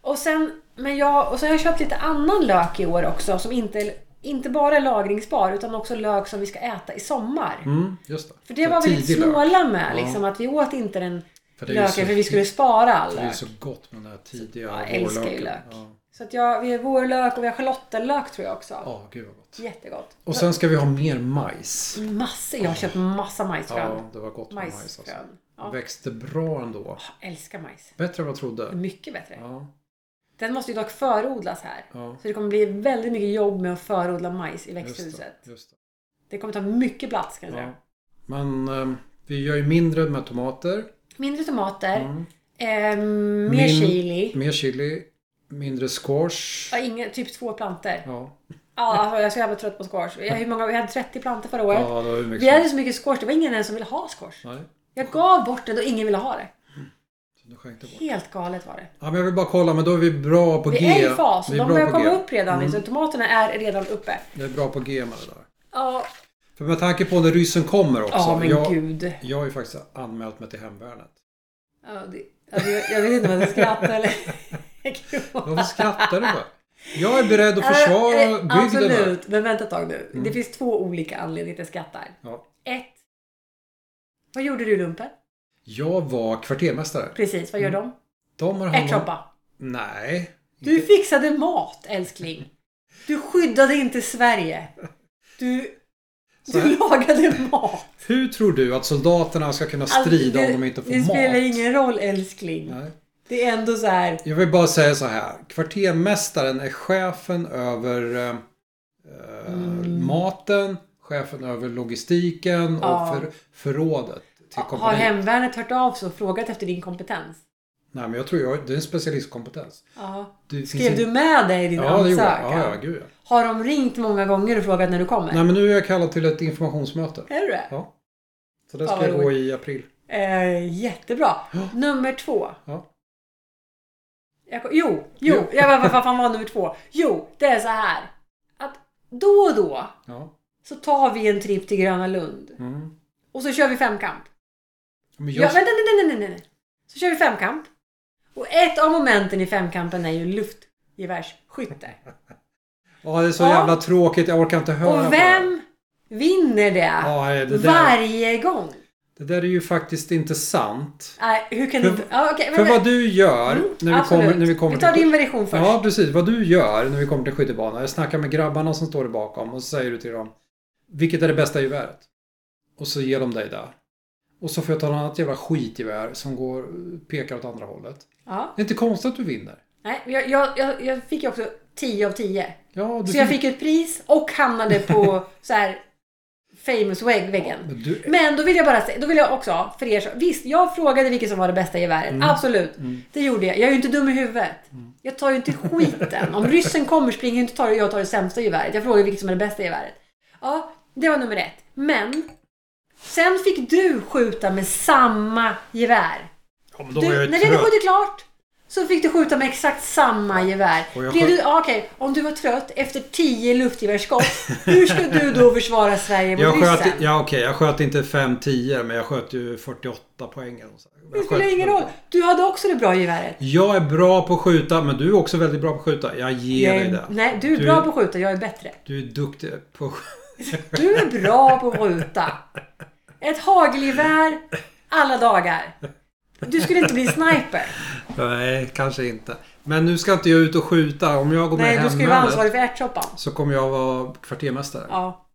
Speaker 2: Och sen, men jag, och sen har jag köpt lite annan lök i år också som inte, inte bara är lagringsbar utan också lök som vi ska äta i sommar.
Speaker 1: Mm, just det.
Speaker 2: För det var vi lite
Speaker 1: tidig lök.
Speaker 2: snåla med,
Speaker 1: Ja.
Speaker 2: liksom, att vi åt inte den
Speaker 1: För det är ju
Speaker 2: löken
Speaker 1: så-
Speaker 2: för vi skulle spara all
Speaker 1: Det är ju
Speaker 2: lök.
Speaker 1: så gott med den här tidiga
Speaker 2: Ja, jag älskar ju lök.
Speaker 1: Ja.
Speaker 2: Så att jag, vi har vårlök och vi har schalottenlök tror jag också.
Speaker 1: ja, gud vad gott.
Speaker 2: Jättegott.
Speaker 1: Och sen ska vi ha mer majs.
Speaker 2: Massa, jag har köpt massa majsfrön.
Speaker 1: Ja, det var gott med majs. Alltså.
Speaker 2: majsfrön. Ja,
Speaker 1: Växte bra ändå.
Speaker 2: älskar majs.
Speaker 1: Bättre än vad jag trodde.
Speaker 2: Mycket bättre.
Speaker 1: Ja,
Speaker 2: Den måste ju dock förodlas här.
Speaker 1: ja.
Speaker 2: Så det kommer bli väldigt mycket jobb med att förodla majs i
Speaker 1: Just
Speaker 2: växthuset.
Speaker 1: det, just det.
Speaker 2: Det kommer ta mycket plats kan jag säga.
Speaker 1: Ja. Men ehm, vi gör ju mindre med tomater.
Speaker 2: Mindre tomater,
Speaker 1: Mm.
Speaker 2: eh, mer
Speaker 1: Min-
Speaker 2: chili.
Speaker 1: Mer chili. Mindre squash.
Speaker 2: Ja, inga, typ två planter.
Speaker 1: Ja,
Speaker 2: Ja, alltså, jag är så jävla trött på squash. Jag, hur många, vi hade 30 planter förra året.
Speaker 1: ja det var hur mycket
Speaker 2: Vi
Speaker 1: som
Speaker 2: hade så mycket squash, det var ingen ens som ville ha squash.
Speaker 1: Nej,
Speaker 2: Jag gav bort det och ingen ville ha det.
Speaker 1: så du skänkte bort.
Speaker 2: Helt galet var det.
Speaker 1: Ja, men jag vill bara kolla, men då är vi bra på
Speaker 2: Vi
Speaker 1: G.
Speaker 2: är i fas,
Speaker 1: Vi är
Speaker 2: de
Speaker 1: bra
Speaker 2: börjar
Speaker 1: på
Speaker 2: komma
Speaker 1: G. Mm.
Speaker 2: upp redan. Liksom. Tomaterna är redan uppe.
Speaker 1: Vi är bra på G med det där.
Speaker 2: Ja,
Speaker 1: För med tanke på när ryssen kommer också.
Speaker 2: ja men
Speaker 1: Alltså, jag,
Speaker 2: gud.
Speaker 1: jag har ju faktiskt anmält mig till Hemvärnet.
Speaker 2: Ja, det, alltså, jag, jag vet inte om jag ska skratta eller
Speaker 1: Varför skrattar du bara? Jag är beredd att
Speaker 2: Eh,
Speaker 1: försvara
Speaker 2: eh,
Speaker 1: bygden. här. Mm.
Speaker 2: Absolut, men vänta ett tag nu. Det finns två olika anledningar till att jag skrattar.
Speaker 1: Ja.
Speaker 2: Ett. Vad gjorde du i lumpen?
Speaker 1: Jag var kvartermästare.
Speaker 2: Precis, vad gör
Speaker 1: Mm.
Speaker 2: de?
Speaker 1: De har hand om-
Speaker 2: Ärtsoppa.
Speaker 1: Nej.
Speaker 2: Du fixade mat, älskling. Du skyddade inte Sverige. Du,
Speaker 1: Så här.
Speaker 2: du lagade mat.
Speaker 1: Hur tror du att soldaterna ska kunna
Speaker 2: Alltså,
Speaker 1: strida
Speaker 2: det-
Speaker 1: om de inte får
Speaker 2: Det
Speaker 1: mat?
Speaker 2: spelar ingen roll, älskling.
Speaker 1: Nej.
Speaker 2: Det är ändå så här.
Speaker 1: Jag vill bara säga så här. Kvartermästaren är chefen över eh, eh,
Speaker 2: Mm.
Speaker 1: maten, chefen över logistiken och
Speaker 2: Ja.
Speaker 1: för, förrådet till
Speaker 2: Har
Speaker 1: kompaniet.
Speaker 2: hemvärnet hört av sig och frågat efter din kompetens?
Speaker 1: Nej, men jag tror jag, det är en specialistkompetens.
Speaker 2: Ja.
Speaker 1: Det finns
Speaker 2: Skrev
Speaker 1: inte-
Speaker 2: du med dig i din
Speaker 1: Ja, det gjorde jag.
Speaker 2: ansökan?
Speaker 1: Ja, ja, gud ja.
Speaker 2: Har de ringt många gånger och frågat när du kommer?
Speaker 1: Nej, men nu är jag kallad till ett informationsmöte.
Speaker 2: Är du det?
Speaker 1: Ja. Så det
Speaker 2: Fan,
Speaker 1: ska jag
Speaker 2: vad
Speaker 1: gå i april.
Speaker 2: Eh, jättebra. Nummer två.
Speaker 1: Ja.
Speaker 2: Jag, kom- jo, jo. Jag bara, vad- vad fan var nummer två? Jo, det är så här. Att då och då
Speaker 1: ja.
Speaker 2: så tar vi en tripp till Gröna Lund.
Speaker 1: Mm.
Speaker 2: Och så kör vi femkamp.
Speaker 1: Men
Speaker 2: Ja,
Speaker 1: just,
Speaker 2: vänta, nej, nej, nej, nej, nej. Så kör vi femkamp. Och ett av momenten i femkampen är ju luftgevärsskytte.
Speaker 1: ja, det är så
Speaker 2: Ja.
Speaker 1: jävla tråkigt. Jag orkar inte höra på
Speaker 2: Och
Speaker 1: det här.
Speaker 2: vem vinner det,
Speaker 1: Ja, nej, det där,
Speaker 2: varje gång?
Speaker 1: det där är ju faktiskt inte sant.
Speaker 2: Nej, hur kan
Speaker 1: För-
Speaker 2: du inte... Ja, okej, men-
Speaker 1: För
Speaker 2: men-
Speaker 1: vad du gör
Speaker 2: Mm,
Speaker 1: när vi
Speaker 2: absolut.
Speaker 1: kommer, när vi kommer
Speaker 2: Vi tar
Speaker 1: till...
Speaker 2: din version först.
Speaker 1: Ja, precis. Vad du gör när vi kommer till skyttebanan. Jag snackar med grabbarna som står där bakom och så säger du till dem Vilket är det bästa geväret? Och så ger de dig där. Och så får jag ta något annat jävla skitgevär som går, pekar åt andra hållet.
Speaker 2: Ja.
Speaker 1: Det är inte konstigt att du vinner.
Speaker 2: Nej, jag, jag, jag, jag fick ju också 10 av 10.
Speaker 1: Ja, du
Speaker 2: Så jag fick ju ett pris och hamnade på så här famous vägg- väggen.
Speaker 1: Men du,
Speaker 2: Men då vill jag bara säga, då vill jag också för er så, Visst, jag frågade vilket som var det bästa geväret. Absolut. Det gjorde jag. Jag är ju inte dum i huvudet. Jag tar ju inte skiten. Om ryssen kommer springer jag inte tar jag tar det sämsta geväret. Jag frågar vilket som är det bästa geväret. Ja, det var nummer ett. Men sen fick du skjuta med samma gevär.
Speaker 1: ja, men då var jag
Speaker 2: Du,
Speaker 1: ju
Speaker 2: när vi hade
Speaker 1: trött.
Speaker 2: skjutit klart så fick du skjuta med exakt samma gevär.
Speaker 1: Och jag
Speaker 2: Blev
Speaker 1: sköt-
Speaker 2: du, ja, okej, om du var trött efter 10 luftgevärsskott, hur ska du då försvara Sverige mot
Speaker 1: Jag
Speaker 2: ryssen?
Speaker 1: sköt, ja, okej, jag sköt inte 5-10 men jag sköt ju 48 poäng. eller så. Jag
Speaker 2: det
Speaker 1: sköt
Speaker 2: spelar ingen roll.
Speaker 1: 48.
Speaker 2: Du hade också det bra geväret.
Speaker 1: Jag är bra på att skjuta men du är också väldigt bra på att skjuta. Jag ger
Speaker 2: Jag
Speaker 1: dig
Speaker 2: är,
Speaker 1: det.
Speaker 2: nej, du är bra på att skjuta, jag är bättre.
Speaker 1: Du är duktig på att skjuta.
Speaker 2: Du är bra på att skjuta. Ett hagelgevär alla dagar. Du skulle inte bli sniper.
Speaker 1: Nej, kanske inte. Men nu ska inte jag ut och skjuta. Om jag går
Speaker 2: Nej,
Speaker 1: med
Speaker 2: du skulle vara
Speaker 1: hemvärnet
Speaker 2: ansvarig för ärtsoppan.
Speaker 1: så kommer jag vara kvartermästare.
Speaker 2: Ja.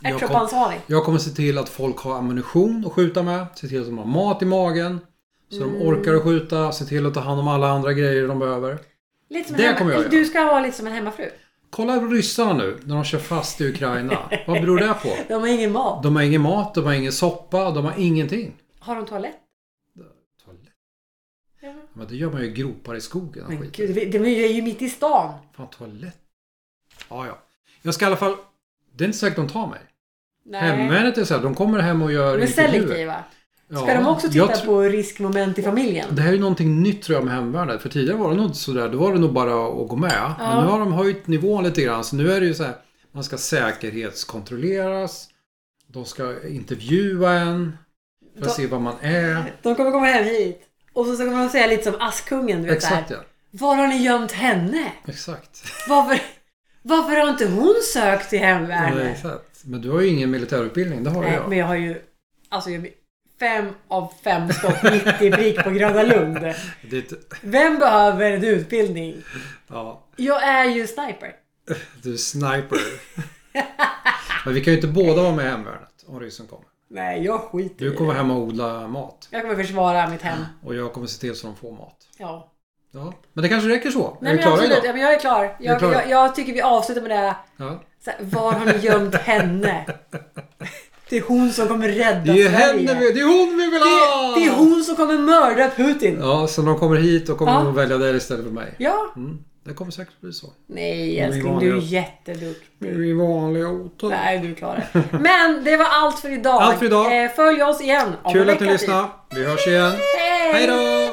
Speaker 1: Jag kom-
Speaker 2: Ärtsoppsansvarig.
Speaker 1: Jag kommer se till att folk har ammunition att skjuta med. Se till att de har mat i magen. Så
Speaker 2: Mm.
Speaker 1: de orkar att skjuta. Se till att ta hand om alla andra grejer de behöver.
Speaker 2: Lite som
Speaker 1: Det
Speaker 2: en
Speaker 1: kommer jag
Speaker 2: hemma...
Speaker 1: göra.
Speaker 2: Du ska vara lite som en hemmafru.
Speaker 1: Kolla på ryssarna nu när de kör fast i Ukraina. Vad beror det på?
Speaker 2: De har ingen mat.
Speaker 1: De har ingen mat, de har ingen soppa, de har ingenting.
Speaker 2: Har de toalett?
Speaker 1: Toalett.
Speaker 2: Ja.
Speaker 1: Men det gör man ju i gropar i skogen. och
Speaker 2: Men
Speaker 1: skit.
Speaker 2: gud, vi- de är ju mitt i stan.
Speaker 1: Fan, toalett. Ja, ja. Jag ska i alla fall... Det är inte säkert de tar mig.
Speaker 2: Nej.
Speaker 1: Hemvärnet är så här, de kommer hem och gör
Speaker 2: De är selektiva.
Speaker 1: Ja,
Speaker 2: Ska de också
Speaker 1: jag
Speaker 2: titta
Speaker 1: tr-
Speaker 2: på riskmoment i familjen?
Speaker 1: Det här är ju någonting nytt tror jag med hemvärnet. För tidigare var det nog inte sådär. Då var det nog bara att gå med. Men nu har de höjt nivån lite grann. Så nu är det ju så här. Man ska säkerhetskontrolleras. De ska intervjua en. För att
Speaker 2: De-
Speaker 1: se vad man är.
Speaker 2: De kommer komma hem hit. Och så kommer de säga lite som Askungen, du vet
Speaker 1: Exakt
Speaker 2: där.
Speaker 1: ja.
Speaker 2: Var har ni gömt henne?
Speaker 1: Exakt.
Speaker 2: Varför, varför har inte hon sökt till
Speaker 1: Nej,
Speaker 2: hemvärnet?
Speaker 1: exakt. Men du har ju ingen militärutbildning. Det har ju
Speaker 2: Nej,
Speaker 1: jag.
Speaker 2: men jag har ju... Alltså, jag, fem av fem skott mitt i prick på Gröna Lund.
Speaker 1: Det är ett-
Speaker 2: Vem behöver en utbildning?
Speaker 1: ja,
Speaker 2: Jag är ju sniper.
Speaker 1: du är sniper. Men vi kan ju inte båda vara med i hemvärnet om ryssen kommer.
Speaker 2: Nej, jag skiter i
Speaker 1: Du
Speaker 2: det.
Speaker 1: kommer hem och odla mat.
Speaker 2: Jag kommer försvara mitt hem.
Speaker 1: Och jag kommer se till så de får mat.
Speaker 2: Ja.
Speaker 1: Ja. Men det kanske räcker så.
Speaker 2: Nej,
Speaker 1: är vi
Speaker 2: men
Speaker 1: klara
Speaker 2: absolut.
Speaker 1: idag?
Speaker 2: Ja, men jag är klar. Jag,
Speaker 1: klara?
Speaker 2: Jag, jag tycker vi avslutar med det. här.
Speaker 1: Ja.
Speaker 2: Så här, var har ni gömt henne? Det är hon som kommer rädda
Speaker 1: Det är ju
Speaker 2: Sverige.
Speaker 1: henne vi, det är hon vi vill
Speaker 2: det,
Speaker 1: ha!
Speaker 2: det är hon som kommer mörda Putin.
Speaker 1: Ja, så när de kommer hit och kommer
Speaker 2: Ja.
Speaker 1: de att välja dig istället för mig.
Speaker 2: Ja.
Speaker 1: Mm. Det kommer säkert bli så.
Speaker 2: Nej
Speaker 1: är
Speaker 2: älskling,
Speaker 1: vanliga.
Speaker 2: du är jätteduktig.
Speaker 1: Min vanliga otur.
Speaker 2: Nej, du klarar det. Men det var allt för idag.
Speaker 1: Allt för idag.
Speaker 2: Eh, Följ oss igen om en
Speaker 1: Kul att
Speaker 2: vecka
Speaker 1: ni
Speaker 2: typ.
Speaker 1: lyssnade. Vi hörs igen.
Speaker 2: Hej!
Speaker 1: Hej då!